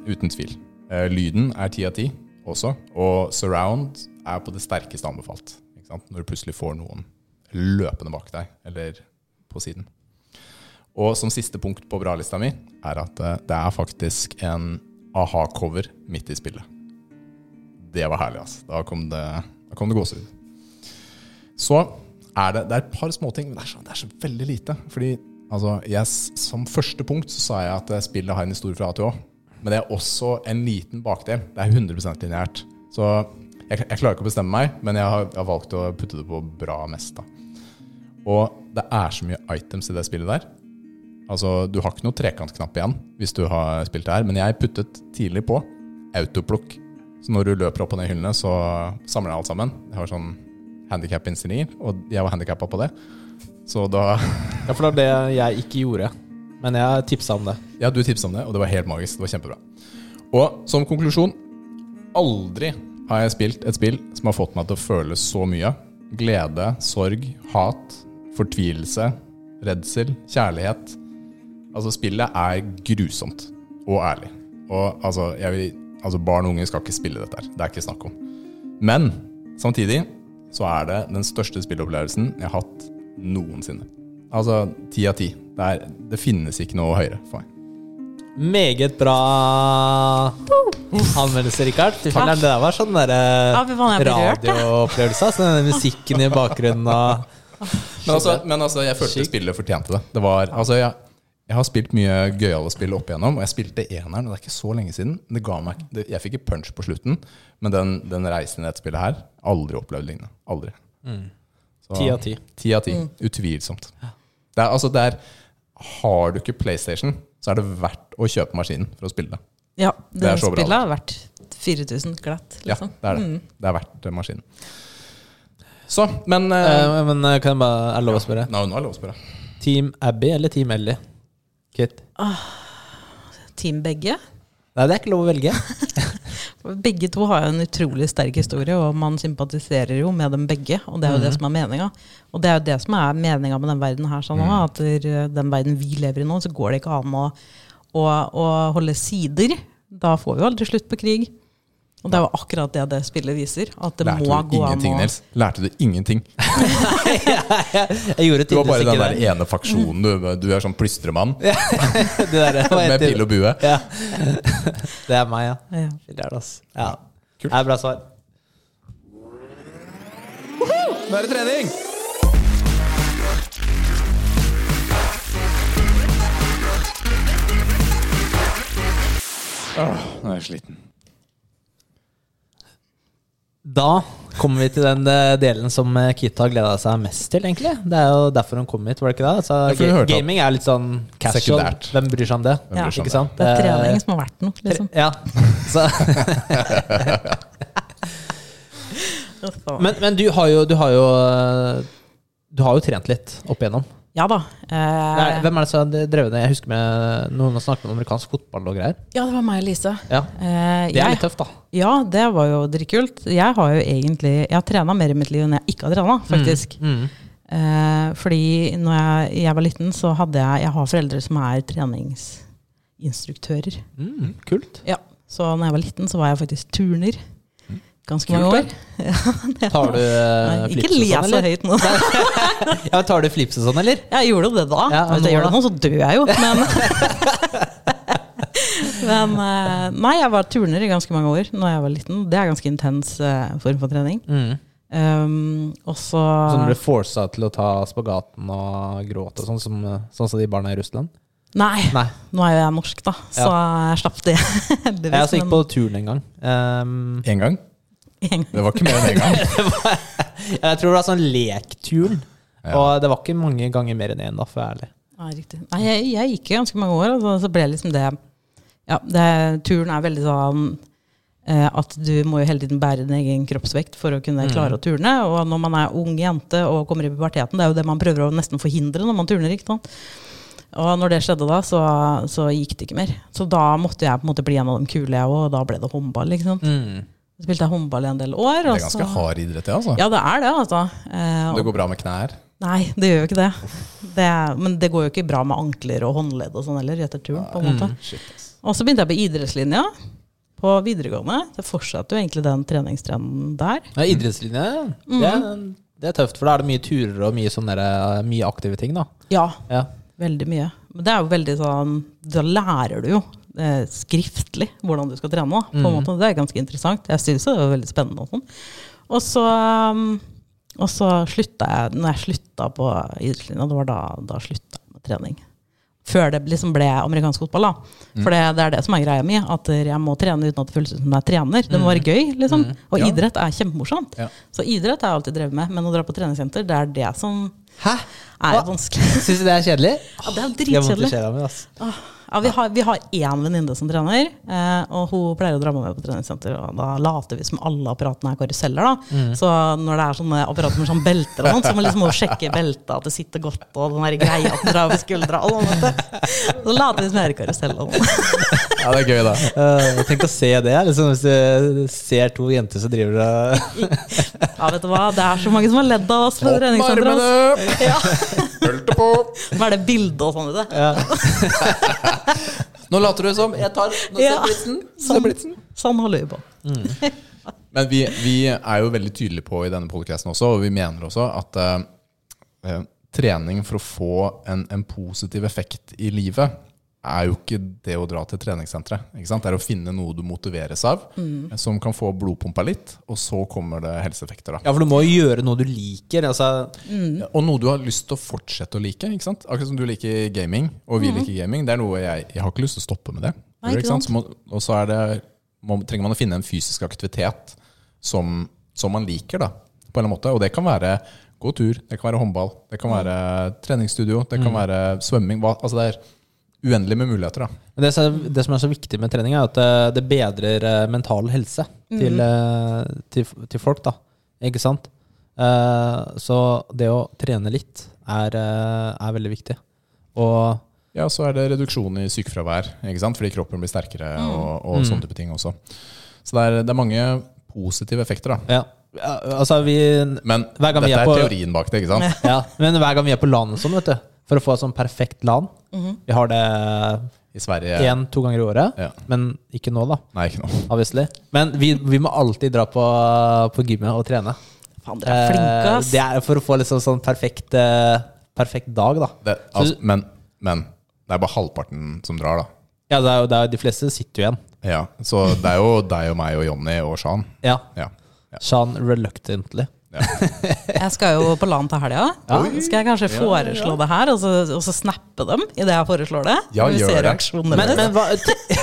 Speaker 1: Uten tvil. Eh, Lyden er 10 av 10 også. Og surround er på det sterkeste anbefalt. Ikke sant? Når du plutselig får noen løpende bak deg, eller på siden. Og som siste punkt på bra-lista mi er at eh, det er faktisk en aha-cover midt i spillet. Det var herlig, altså. Da kom det, da kom det gåsehud. Så er det, det er et par småting, men det er så, det er så veldig lite. Fordi altså, jeg, s- som første punkt så sa jeg at eh, spillet har en historie fra A til Å. Men det er også en liten bakdel. Det er 100 lineært. Så jeg, jeg klarer ikke å bestemme meg, men jeg har, jeg har valgt å putte det på bra mest. da. Og det er så mye items i det spillet der. Altså, Du har ikke noe trekantknapp igjen hvis du har spilt det her, men jeg puttet tidlig på autoplukk. Så når du løper opp og ned hyllene, så samler jeg alt sammen. Jeg har sånn handikap-innstillinger, og jeg var handikappa på det. Så da
Speaker 2: Ja, for det var det jeg ikke gjorde. Men jeg tipsa om det.
Speaker 1: Ja, du tipsa om det, og det var helt magisk. Det var kjempebra. Og som konklusjon aldri har jeg spilt et spill som har fått meg til å føle så mye. Glede, sorg, hat, fortvilelse, redsel, kjærlighet. Altså, spillet er grusomt og ærlig. Og altså, jeg vil, altså barn og unge skal ikke spille dette her. Det er ikke snakk om. Men samtidig så er det den største spillopplevelsen jeg har hatt noensinne. Altså ti av ti. Det, er- det finnes ikke noe høyere for meg.
Speaker 2: Meget bra anmeldelse, Rikard. Fy faen,
Speaker 3: Takk.
Speaker 2: Det der var sånn der
Speaker 3: Ja, fy faen, jeg blir rørt, jeg.
Speaker 2: radioopplevelse. altså, Den musikken i bakgrunnen og
Speaker 1: Men altså, men altså jeg følte spillet fortjente det. det var, altså, jeg, jeg har spilt mye gøyale spill opp igjennom, og jeg spilte eneren, og det er ikke så lenge siden. Det ga meg, det, jeg fikk ikke punch på slutten, men den, den reisen i dette spillet her, aldri opplevd lignende. Aldri. Så-
Speaker 2: Ti av ti.
Speaker 1: Mm. Ti av ti.
Speaker 3: Mm.
Speaker 1: Utvilsomt. Det er, altså, det er, har du ikke PlayStation, så er det verdt å kjøpe maskinen for å spille det.
Speaker 3: Ja, det,
Speaker 1: er så bra.
Speaker 3: spillet har vært 4000 glatt,
Speaker 1: Ja,
Speaker 3: liksom.
Speaker 1: det er det. Det er verdt eh, maskinen. Så, eh, men eh,
Speaker 2: Eh, Men eh, kan jeg bare Er det lov å spørre?
Speaker 1: Nå nå er det lov å spørre.
Speaker 2: Team Abby eller Team Ellie? Kit?
Speaker 3: Team begge.
Speaker 2: Nei, det er ikke lov å velge.
Speaker 3: Begge to har jo en utrolig sterk historie, og man sympatiserer jo med dem begge. Og det er jo
Speaker 2: Mhm.
Speaker 3: det som er meninga. Og det er jo det som er meninga med den verden her, sånn,
Speaker 2: Mhm.
Speaker 3: også, at der, den verden vi lever i nå, så går det ikke an å, å, å holde sider. Da får vi jo aldri slutt på krig. Og det er jo akkurat det det spillet viser. At det
Speaker 1: Lærte
Speaker 3: må
Speaker 1: du
Speaker 3: gå an
Speaker 1: ingenting,
Speaker 3: å
Speaker 1: Nils? Lærte du ingenting?
Speaker 2: Jeg gjorde
Speaker 1: Du var bare
Speaker 2: tydeligvis
Speaker 1: den
Speaker 2: ikke
Speaker 1: der
Speaker 2: det.
Speaker 1: ene faksjonen. Du, du er sånn plystremann
Speaker 2: Det der var
Speaker 1: med
Speaker 2: helt-
Speaker 1: pil og bue.
Speaker 2: Ja. Det er meg, ja.
Speaker 3: Ja.
Speaker 2: Det er det, ass. Ja.
Speaker 1: Kult.
Speaker 2: Det er bra svar.
Speaker 1: Nå er det trening! Åh, nå er jeg sliten.
Speaker 2: Da kommer vi til den eh, delen som eh, Kit har gleda seg mest til, egentlig. Det er jo derfor hun kom hit, var det ikke det? Altså,
Speaker 1: for hun
Speaker 2: ga-
Speaker 1: hørte at-
Speaker 2: gaming er litt sånn casual.
Speaker 1: Sekundært.
Speaker 2: Hvem bryr seg om det?
Speaker 1: Hvem bryr seg om det?
Speaker 2: ikke sant?
Speaker 3: Det er
Speaker 2: Eh,
Speaker 3: trening som har vært noe, liksom.
Speaker 2: Ja. (laughs) Så, men men du, har jo, du har jo eh, Du har jo trent litt opp igjennom.
Speaker 3: ja da.
Speaker 2: Nei,
Speaker 3: Eh,
Speaker 2: hvem er det som har drevet det? Jeg husker med noen som snakket om amerikansk fotball og greier.
Speaker 3: ja, det var meg og Lise.
Speaker 2: Ja,
Speaker 3: Eh,
Speaker 2: Det er
Speaker 3: jeg
Speaker 2: litt tøft, da.
Speaker 3: Ja, det var jo dritkult. Jeg har jo egentlig Jeg har trena mer i mitt liv enn jeg ikke har trena, faktisk.
Speaker 2: Mm.
Speaker 3: Eh, fordi når jeg, jeg var liten, så hadde jeg Jeg har foreldre som er treningsinstruktører.
Speaker 2: Mm, kult.
Speaker 3: Ja, Så når jeg var liten, så var jeg faktisk turner. Ganske mange år.
Speaker 2: Kult,
Speaker 3: (laughs)
Speaker 2: Tar du eh,
Speaker 3: Nei,
Speaker 2: flips og
Speaker 3: ikke le
Speaker 2: sånn,
Speaker 3: så
Speaker 2: eller?
Speaker 3: høyt nå.
Speaker 2: Ja, men tar du flips og sånn, eller?
Speaker 3: Jeg gjorde jo det da.
Speaker 2: Ja,
Speaker 3: Hvis jeg
Speaker 2: nå
Speaker 3: gjør det nå, så dør jeg jo. Men, (laughs) men eh, Nei, jeg var turner i ganske mange år Når jeg var liten. Det er ganske intens eh, form for trening.
Speaker 2: Mm.
Speaker 3: Um, og så
Speaker 2: Som ble forsa til å ta spagaten og gråte og sånn, som, sånn som de barna i Russland?
Speaker 3: Nei,
Speaker 2: Nei.
Speaker 3: nå er jo jeg norsk, da, så jeg slapp det. (laughs) liksom heldigvis,
Speaker 2: Jeg altså gikk
Speaker 3: men
Speaker 2: på turen en gang. Ehm,
Speaker 1: Én gang?
Speaker 3: (laughs) en gang.
Speaker 1: Det var ikke mer enn én (laughs) gang.
Speaker 2: jeg tror det var sånn lekturn.
Speaker 1: Ja.
Speaker 2: Og det var ikke mange ganger mer enn én, da, for å være ærlig.
Speaker 3: Nei, riktig. Nei, jeg, jeg gikk i ganske mange år, og så, så ble liksom det Ja, det, turen er veldig sånn eh, at du må jo hele tiden bære din egen kroppsvekt for å
Speaker 2: Mm.
Speaker 3: kunne klare å turne. Og når man er ung jente og kommer i puberteten, det er jo det man prøver å nesten forhindre når man turner. ikke sant? Og når det skjedde da, så, så gikk det ikke mer. Så da måtte jeg på en måte bli en av de kule, jeg òg, og da ble det håndball. ikke sant?
Speaker 2: Mm.
Speaker 3: Så spilte jeg håndball i en del år.
Speaker 1: Det
Speaker 3: og
Speaker 1: er
Speaker 3: så-
Speaker 1: ganske hard idrett, det, altså.
Speaker 3: Ja, det er det, altså. Eh, og-
Speaker 1: Det går bra med knær.
Speaker 3: Nei, det gjør jo ikke det. det. er- Men det går jo ikke bra med ankler og håndledd og sånn heller, etter turen. på en måte.
Speaker 1: Shit, altså. ass.
Speaker 3: Og så begynte jeg på idrettslinja på videregående. Det fortsatte jo egentlig den treningstrenden der.
Speaker 2: Ja, idrettslinje, det, det er tøft, for da er det mye turer og mye, sånne, der, eh, mye aktive ting, da.
Speaker 3: Ja,
Speaker 2: Ja.
Speaker 3: veldig mye. Men det er jo veldig sånn Da lærer du jo eh, skriftlig hvordan du skal trene. da, På
Speaker 1: Mm.
Speaker 3: en måte. Det er ganske interessant. Jeg syns det var veldig spennende og sånn. Og så um, og så slutta jeg Når jeg slutta på idrettslinja, det var da, da slutta jeg med trening. Før det liksom ble amerikansk fotball. da.
Speaker 1: Mm.
Speaker 3: For det, det er det som er greia mi. At jeg må trene uten at det føles ut som jeg trener. Det må være gøy. liksom.
Speaker 1: Mm.
Speaker 3: Og
Speaker 1: Ja.
Speaker 3: idrett er kjempemorsomt.
Speaker 1: Ja.
Speaker 3: Så idrett har jeg alltid drevet med. Men å dra på treningssenter, det er det som
Speaker 2: Hæ?
Speaker 3: er
Speaker 2: Hva?
Speaker 3: vanskelig.
Speaker 2: Syns du det er kjedelig?
Speaker 3: Ja, det
Speaker 2: Jeg
Speaker 3: er jo
Speaker 2: har vondt i
Speaker 3: dritkjedelig.
Speaker 2: sjela mi, ass.
Speaker 3: Åh, Ah, Ja, vi har, vi har én venninne som trener, eh, og hun pleier å dra med meg på treningssenter. Og da later vi som alle apparatene er karuseller. da.
Speaker 2: Mm.
Speaker 3: Så når det er sånne apparater med sånn belter og sånt, så må liksom hun sjekke beltet, at det sitter godt, og den der greia at den drar over skuldra. Og sånn, vet du. så later vi som vi er i karusell. Og sånn.
Speaker 1: Ja, det er gøy, da.
Speaker 2: Eh, tenk å se det, liksom, hvis du ser to jenter som driver og
Speaker 3: ja, vet du hva, det er så mange som har ledd av oss på
Speaker 1: Opp med
Speaker 3: treningssenteret. ass.
Speaker 1: armene!
Speaker 3: Ja.
Speaker 1: Pølte på!
Speaker 3: Hva er det bildet og sånn? vet du?
Speaker 1: Nå later du som. Jeg tar nå ser
Speaker 3: Ja.
Speaker 1: blitzen. Ser
Speaker 3: Sånn,
Speaker 1: blitzen.
Speaker 3: sånn holder vi på.
Speaker 1: Men vi, vi er jo veldig tydelige på i denne podcasten også, og vi mener også at eh, eh, trening for å få en, en positiv effekt i livet, er jo ikke det å dra til treningssenteret. Ikke sant? Det er å finne noe du motiveres av, eh, som kan få blodpumpa litt, og så kommer det helseeffekter. Da.
Speaker 2: Ja, for du må jo gjøre noe du liker. Altså,
Speaker 1: Og noe du har lyst til å fortsette å like. Ikke sant? Akkurat som du liker gaming, og vi liker gaming. Det er noe jeg, jeg har ikke lyst til å stoppe med det.
Speaker 3: Mhm. Nei,
Speaker 1: Gjør du,
Speaker 3: ikke sant?
Speaker 1: Så må, og så er det, må, trenger man å finne en fysisk aktivitet som, som man liker, da, på en eller annen måte. Og det kan være gå tur, det kan være håndball, det
Speaker 3: Mm.
Speaker 1: kan være treningsstudio, det kan være svømming. Hva, altså det er uendelig med muligheter, da.
Speaker 2: men det, som- det som er så viktig med trening, er at eh, det Mm. bedrer eh, mental helse til, eh, til, til folk. da Ikke sant? Eh, så det å trene litt er, eh, er veldig viktig. Og
Speaker 1: Ja, så er det reduksjon i sykefravær, ikke sant? fordi kroppen blir sterkere
Speaker 3: Mm.
Speaker 1: og, og sånne type ting også. Så det er, det er mange positive effekter, da.
Speaker 2: ja, ja, altså vi
Speaker 1: Men
Speaker 2: Hver gang
Speaker 1: dette
Speaker 2: vi
Speaker 1: er,
Speaker 2: er på-
Speaker 1: teorien bak det, ikke sant?
Speaker 2: ja, Men hver gang vi er på LAN og sånn, vet du, for å få et sånn perfekt LAN
Speaker 3: Mhm.
Speaker 2: Vi har det
Speaker 1: I Sverige
Speaker 2: én-to ganger i året,
Speaker 1: Ja.
Speaker 2: men ikke nå, da.
Speaker 1: Nei, ikke noe.
Speaker 2: Obviously. Men vi, vi må alltid dra på, på gymmet og trene.
Speaker 3: Faen, dere er flinke,
Speaker 2: Eh,
Speaker 3: ass.
Speaker 2: Det er for å få liksom sånn perfekt, eh, perfekt dag, da.
Speaker 1: Det, altså, men, men det er bare halvparten som drar, da.
Speaker 2: Ja, det er jo, det er, jo- de fleste sitter jo igjen.
Speaker 1: Ja, Så det er jo deg og meg og Jonny og Shan.
Speaker 2: Ja.
Speaker 1: Ja. Ja.
Speaker 2: Sean reluctantly.
Speaker 3: Jeg skal jo på LAN til helga. Skal jeg kanskje foreslå det her, og så, og så snappe dem idet jeg foreslår det?
Speaker 1: Ja,
Speaker 3: Vi
Speaker 1: gjør
Speaker 3: ser
Speaker 1: det.
Speaker 3: reaksjonen
Speaker 2: Men,
Speaker 3: deres.
Speaker 2: men hva,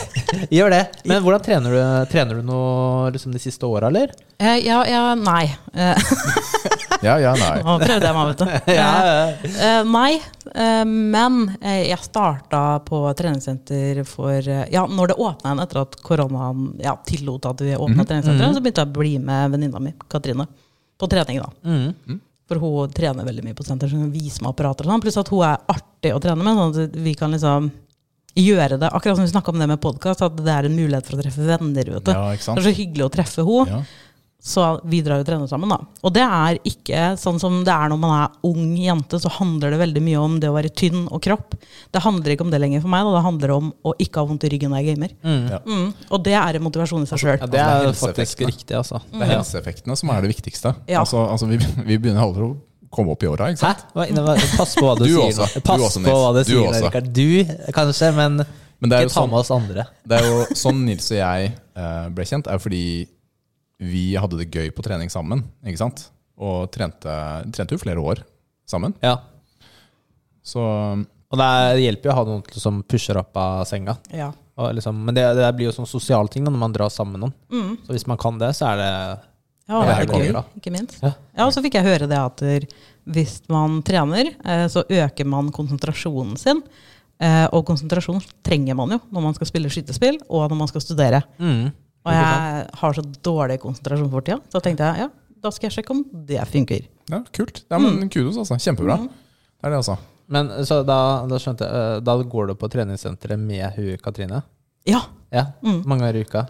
Speaker 2: (laughs) gjør det. Men hvordan trener du? Trener du noe liksom, de siste åra, eller?
Speaker 3: Eh, ja, ja, nei. Eh, (laughs)
Speaker 1: Ja, ja, nei.
Speaker 3: Nå prøvde jeg meg, vet du.
Speaker 2: Ja, ja.
Speaker 3: Eh, nei, eh, men eh, jeg starta på treningssenter for eh, Ja, når det åpna igjen etter at koronaen ja, tillot at vi åpna treningssenteret, så begynte jeg å bli med venninna mi, Katrine, på trening, da.
Speaker 2: Mm.
Speaker 3: For hun trener veldig mye på senter, så hun viser meg apparater og sånn. Pluss at hun er artig å trene med, sånn at vi kan liksom gjøre det. Akkurat som vi snakka om det med podkast, at det er en mulighet for å treffe venner. Vet du.
Speaker 1: Ja, ikke sant?
Speaker 3: Det er så hyggelig å treffe henne.
Speaker 1: Ja.
Speaker 3: Så vi drar og trener sammen, da. Og det er ikke sånn som det er når man er ung jente, så handler det veldig mye om det å være tynn og kropp. Det handler ikke om det lenger for meg, da. det handler om å ikke ha vondt i ryggen når jeg gamer.
Speaker 1: Ja.
Speaker 3: Mm. Og det er en motivasjon i seg sjøl.
Speaker 2: ja det er jo
Speaker 1: Altså, det er
Speaker 2: faktisk riktig, altså.
Speaker 3: Mm.
Speaker 1: Det er helseeffektene som er det viktigste.
Speaker 3: Ja.
Speaker 1: Altså, altså vi, vi begynner aldri å komme opp i åra, ikke
Speaker 2: Hæ?
Speaker 1: sant?
Speaker 2: Hva, hva- pass på hva du,
Speaker 1: Du
Speaker 2: sier.
Speaker 1: også.
Speaker 2: nå. Pass
Speaker 1: Du også,
Speaker 2: på hva du
Speaker 1: Nils. Du
Speaker 2: sier,
Speaker 1: også.
Speaker 2: Rikard. Du kanskje, men,
Speaker 1: Men det er jo
Speaker 2: ikke ta
Speaker 1: sånn-
Speaker 2: med oss andre.
Speaker 1: Det er jo sånn Nils og jeg eh, ble kjent, er fordi vi hadde det gøy på trening sammen, ikke sant? Og trente, trente jo flere år sammen.
Speaker 2: Ja.
Speaker 1: Så
Speaker 2: Og det er- det hjelper jo å ha noen til- som pusher opp av senga.
Speaker 3: Ja.
Speaker 2: Og liksom, men det, det blir jo sånn sosial ting da, når man drar sammen med
Speaker 3: Mm.
Speaker 2: noen. Så hvis man kan det, så er det
Speaker 3: Ja,
Speaker 1: Det
Speaker 3: og det
Speaker 1: er
Speaker 3: er gøy,
Speaker 1: konge, da.
Speaker 3: ikke minst.
Speaker 2: Ja.
Speaker 3: Ja. og så fikk jeg høre det at der, hvis man trener, eh, så øker man konsentrasjonen sin. Eh, Og konsentrasjon trenger man jo når man skal spille skytespill, og når man skal studere. Og jeg har så dårlig konsentrasjon for tida, så tenkte jeg ja, da skal jeg sjekke om det funker.
Speaker 1: ja, kult. Ja,
Speaker 3: Mm.
Speaker 1: men kudos, altså. Kjempebra. Det er det, altså.
Speaker 2: Men så da, da skjønte jeg eh, Da går du på treningssenteret med hun Katrine?
Speaker 3: Ja.
Speaker 2: Ja,
Speaker 3: Mm.
Speaker 2: mange ganger i uka?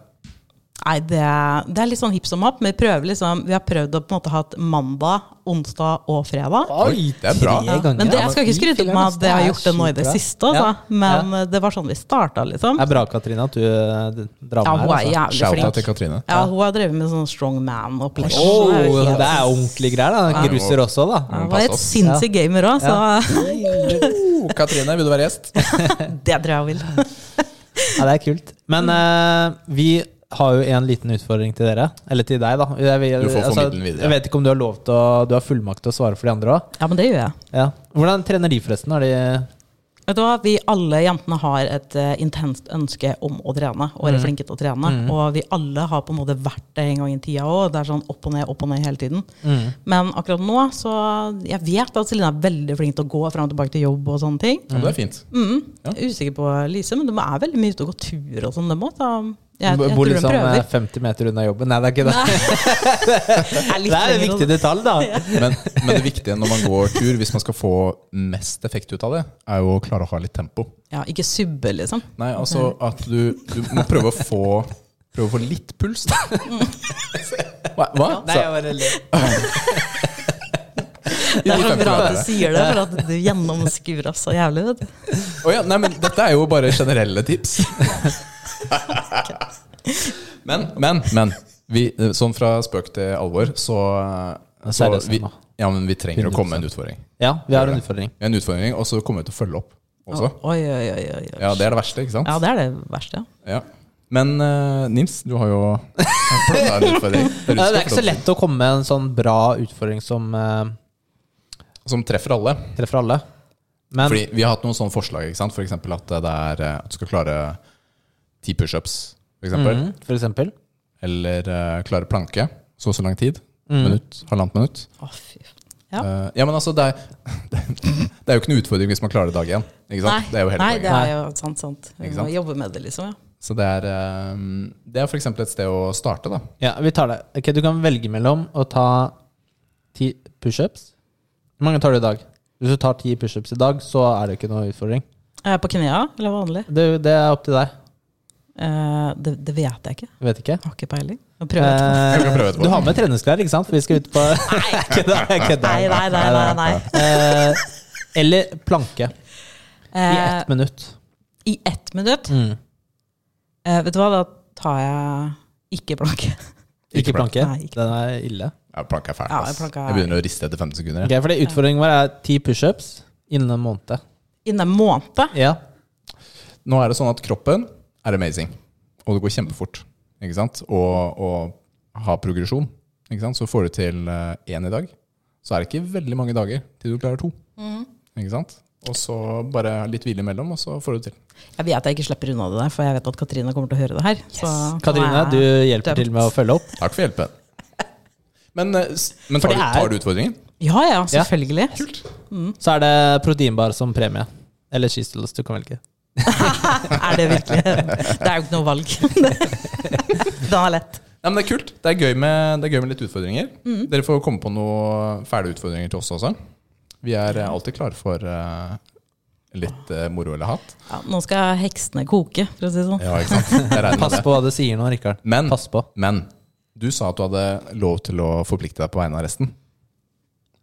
Speaker 3: Nei, det, det er litt sånn hipp som happ. men Vi, prøver liksom, vi har prøvd å på en måte ha et mandag, onsdag og fredag.
Speaker 1: Oi, det er bra.
Speaker 2: tre ganger.
Speaker 3: Men det, jeg skal
Speaker 2: Ja,
Speaker 3: ikke
Speaker 2: men
Speaker 3: skryte
Speaker 2: fy
Speaker 3: på meg
Speaker 2: filler'n,
Speaker 3: at jeg har
Speaker 2: er
Speaker 3: gjort det nå i det
Speaker 2: sjukt bra.
Speaker 3: siste, altså.
Speaker 2: Ja.
Speaker 3: men
Speaker 2: Ja.
Speaker 3: eh, det var sånn vi starta, liksom.
Speaker 2: Det er bra, Katrine, at du eh, drar
Speaker 3: Ja,
Speaker 2: med
Speaker 3: hun er
Speaker 2: her. Altså.
Speaker 3: jævlig
Speaker 1: Shouta til
Speaker 3: flink. (laughs)
Speaker 1: Katrine.
Speaker 3: Ja, hun har drevet med sånn strongman-opplegg.
Speaker 2: Oh,
Speaker 3: Det er jo helt-
Speaker 2: det er ordentlige greier. da Grusser også, da.
Speaker 3: Ja,
Speaker 1: men
Speaker 3: Hun var
Speaker 1: pass
Speaker 3: et
Speaker 1: oss.
Speaker 3: sinnssyk gamer òg, så
Speaker 1: Oh, Katrine, vil du være gjest?
Speaker 3: (laughs) det tror jeg hun vil.
Speaker 2: Ja, det er kult. Men eh, vi har jo en liten utfordring til dere. Eller til deg, da. Jeg, vil-
Speaker 1: Du får formidle den videre.
Speaker 2: altså, Jeg vet ikke om du har lov til å Du har fullmakt til å svare for de andre òg.
Speaker 3: Ja, men det gjør jeg.
Speaker 2: Ja. Hvordan trener de, forresten? Er de
Speaker 3: Vet du hva? Vi alle jentene har et eh, intenst ønske om å trene, og er flinke til å trene. Og vi alle har på en måte vært det en gang i tida òg. Det er sånn opp og ned, opp og ned hele tiden. Men akkurat nå, så Jeg vet at Celine er veldig flink til å gå fram og tilbake til jobb og sånne ting.
Speaker 1: Ja, det er fint.
Speaker 3: Mm.
Speaker 1: Ja.
Speaker 3: Jeg er Usikker på Lise, men de er veldig mye ute og går tur og sånn. De må ta jeg, jeg
Speaker 2: bor
Speaker 3: tror de
Speaker 2: liksom eh,
Speaker 3: prøver.
Speaker 2: 50 meter unna jobben? Nei, det er ikke det.
Speaker 3: (laughs) Jeg er litt
Speaker 2: Det er en
Speaker 3: lenger altså.
Speaker 2: viktig
Speaker 3: og-
Speaker 2: detalj,
Speaker 3: (laughs)
Speaker 2: da.
Speaker 1: Men, men det viktige når man går tur, hvis man skal få mest effekt ut av det, er jo å klare å ha litt tempo.
Speaker 3: Ja, ikke subbe, liksom.
Speaker 1: Nei, altså at du, du må prøve å få Prøve å få litt puls, da.
Speaker 3: Mm.
Speaker 1: (laughs) Hva? Hva?
Speaker 2: Nei,
Speaker 1: Så,
Speaker 2: jeg bare ler.
Speaker 3: Det er så
Speaker 1: kan
Speaker 3: bra
Speaker 1: klare
Speaker 3: at du
Speaker 1: det.
Speaker 3: sier det, for at du gjennomskuer oss så jævlig. Vet. du.
Speaker 1: Å ja, nei, men dette er jo bare generelle tips. men, men, men. Vi, sånn fra spøk til alvor, så,
Speaker 2: Men
Speaker 1: så
Speaker 2: seriøst,
Speaker 1: vi,
Speaker 2: da.
Speaker 1: ja, men vi trenger å komme med en utfordring.
Speaker 2: Ja, vi har en utfordring.
Speaker 1: En utfordring, Og så kommer vi til å følge opp også.
Speaker 3: Oi, oi, oi, oi, oi.
Speaker 1: Ja, Det er det verste, ikke sant?
Speaker 3: Ja, det er det verste. ja.
Speaker 1: Ja. Men eh, Nils, du har jo planta en utfordring. Det
Speaker 2: (laughs) Ja, Eh, Det er ikke så lett å komme med en sånn bra utfordring som eh,
Speaker 1: Som treffer alle.
Speaker 2: treffer alle. Men
Speaker 1: Fordi vi har hatt noen sånne forslag, ikke sant? For eksempel at det er eh, at du skal klare ti pushups, for eksempel.
Speaker 2: Mhm, for eksempel.
Speaker 1: Eller eh, klare planke, så og så lang tid. Minutt, halvannet minutt.
Speaker 3: Å, fy.
Speaker 1: Ja.
Speaker 3: Ja.
Speaker 1: ja, men altså, det er, (laughs) det er jo ikke noen utfordring hvis man klarer det dag én. Ikke sant? det er jo hele
Speaker 3: Nei,
Speaker 1: poenget.
Speaker 3: det er jo sant, sant. Vi
Speaker 1: Ikke
Speaker 3: må
Speaker 1: sant?
Speaker 3: jobbe med det, liksom. ja.
Speaker 1: Så det er, eh, det er for eksempel et sted å starte, da.
Speaker 2: Ja, vi tar det. Ok, Du kan velge mellom å ta Ti pushups? Hvor mange tar du i dag? Hvis du tar ti pushups i dag, så er det ikke noe utfordring.
Speaker 3: Eh, På knea, eller vanlig?
Speaker 2: Det, det er opp til deg.
Speaker 3: Eh, det, det vet jeg ikke.
Speaker 2: Jeg vet ikke.
Speaker 3: Jeg har ikke peiling. Jeg prøver etterpå.
Speaker 1: Jeg kan prøve
Speaker 2: Eh,
Speaker 1: etterpå.
Speaker 2: du har med treningsklær, ikke sant? For vi skal ut på (laughs) Nei, kødda, jeg kødda.
Speaker 3: Nei, nei, nei. nei, nei.
Speaker 2: Eh, eller planke i ett
Speaker 3: Eh,
Speaker 2: minutt.
Speaker 3: I ett minutt?
Speaker 2: Mm.
Speaker 3: Eh, vet du hva, da tar jeg ikke planke.
Speaker 2: Ikke planke.
Speaker 3: Nei, ikke
Speaker 2: Den er ille.
Speaker 1: Ja, planka er fælt.
Speaker 3: Ja,
Speaker 1: ass.
Speaker 3: planka er-
Speaker 1: Jeg begynner å riste etter 15 sekunder.
Speaker 2: Ok,
Speaker 1: jeg.
Speaker 2: fordi Utfordringen vår er ti pushups innen en måned.
Speaker 3: (laughs) Innen en måned?
Speaker 2: Ja.
Speaker 1: Nå er det sånn at kroppen er amazing, og det går kjempefort. Ikke sant? Og, og har progresjon. Ikke sant? Så får du til eh, én i dag, så er det ikke veldig mange dager til du klarer to.
Speaker 3: Mm.
Speaker 1: Ikke sant? Og så bare litt hvile imellom, og så får du det til.
Speaker 3: Jeg vet jeg ikke slipper unna det der, for jeg vet at Katrine kommer til å høre det her. Så
Speaker 2: Katrine,
Speaker 3: nå er
Speaker 2: du
Speaker 3: jeg
Speaker 2: hjelper
Speaker 3: dømt.
Speaker 2: til med å følge opp.
Speaker 1: Takk for hjelpen. (laughs) Men, eh, s- men
Speaker 2: For
Speaker 1: tar, du,
Speaker 2: det er-
Speaker 1: tar du utfordringen?
Speaker 3: Ja, ja, selvfølgelig.
Speaker 2: Så er det proteinbar som premie. Eller cheesedoodles, du kan velge.
Speaker 3: er det virkelig Det er jo ikke noe valg. (laughs) Den er lett.
Speaker 1: Ja, men Det er kult. Det er gøy med, det er gøy med litt utfordringer.
Speaker 3: Mm.
Speaker 1: Dere får komme på noen fæle utfordringer til oss også. Vi er eh, alltid klare for eh, litt eh, moro eller hat.
Speaker 3: Ja, nå skal heksene koke, for å si det sånn.
Speaker 1: Ja, ikke sant? Jeg (laughs) regner med
Speaker 2: Pass
Speaker 1: det.
Speaker 2: på hva du sier nå, Rikard.
Speaker 1: Men-
Speaker 2: Pass på.
Speaker 1: Men du sa at du hadde lov til å forplikte deg på vegne av resten.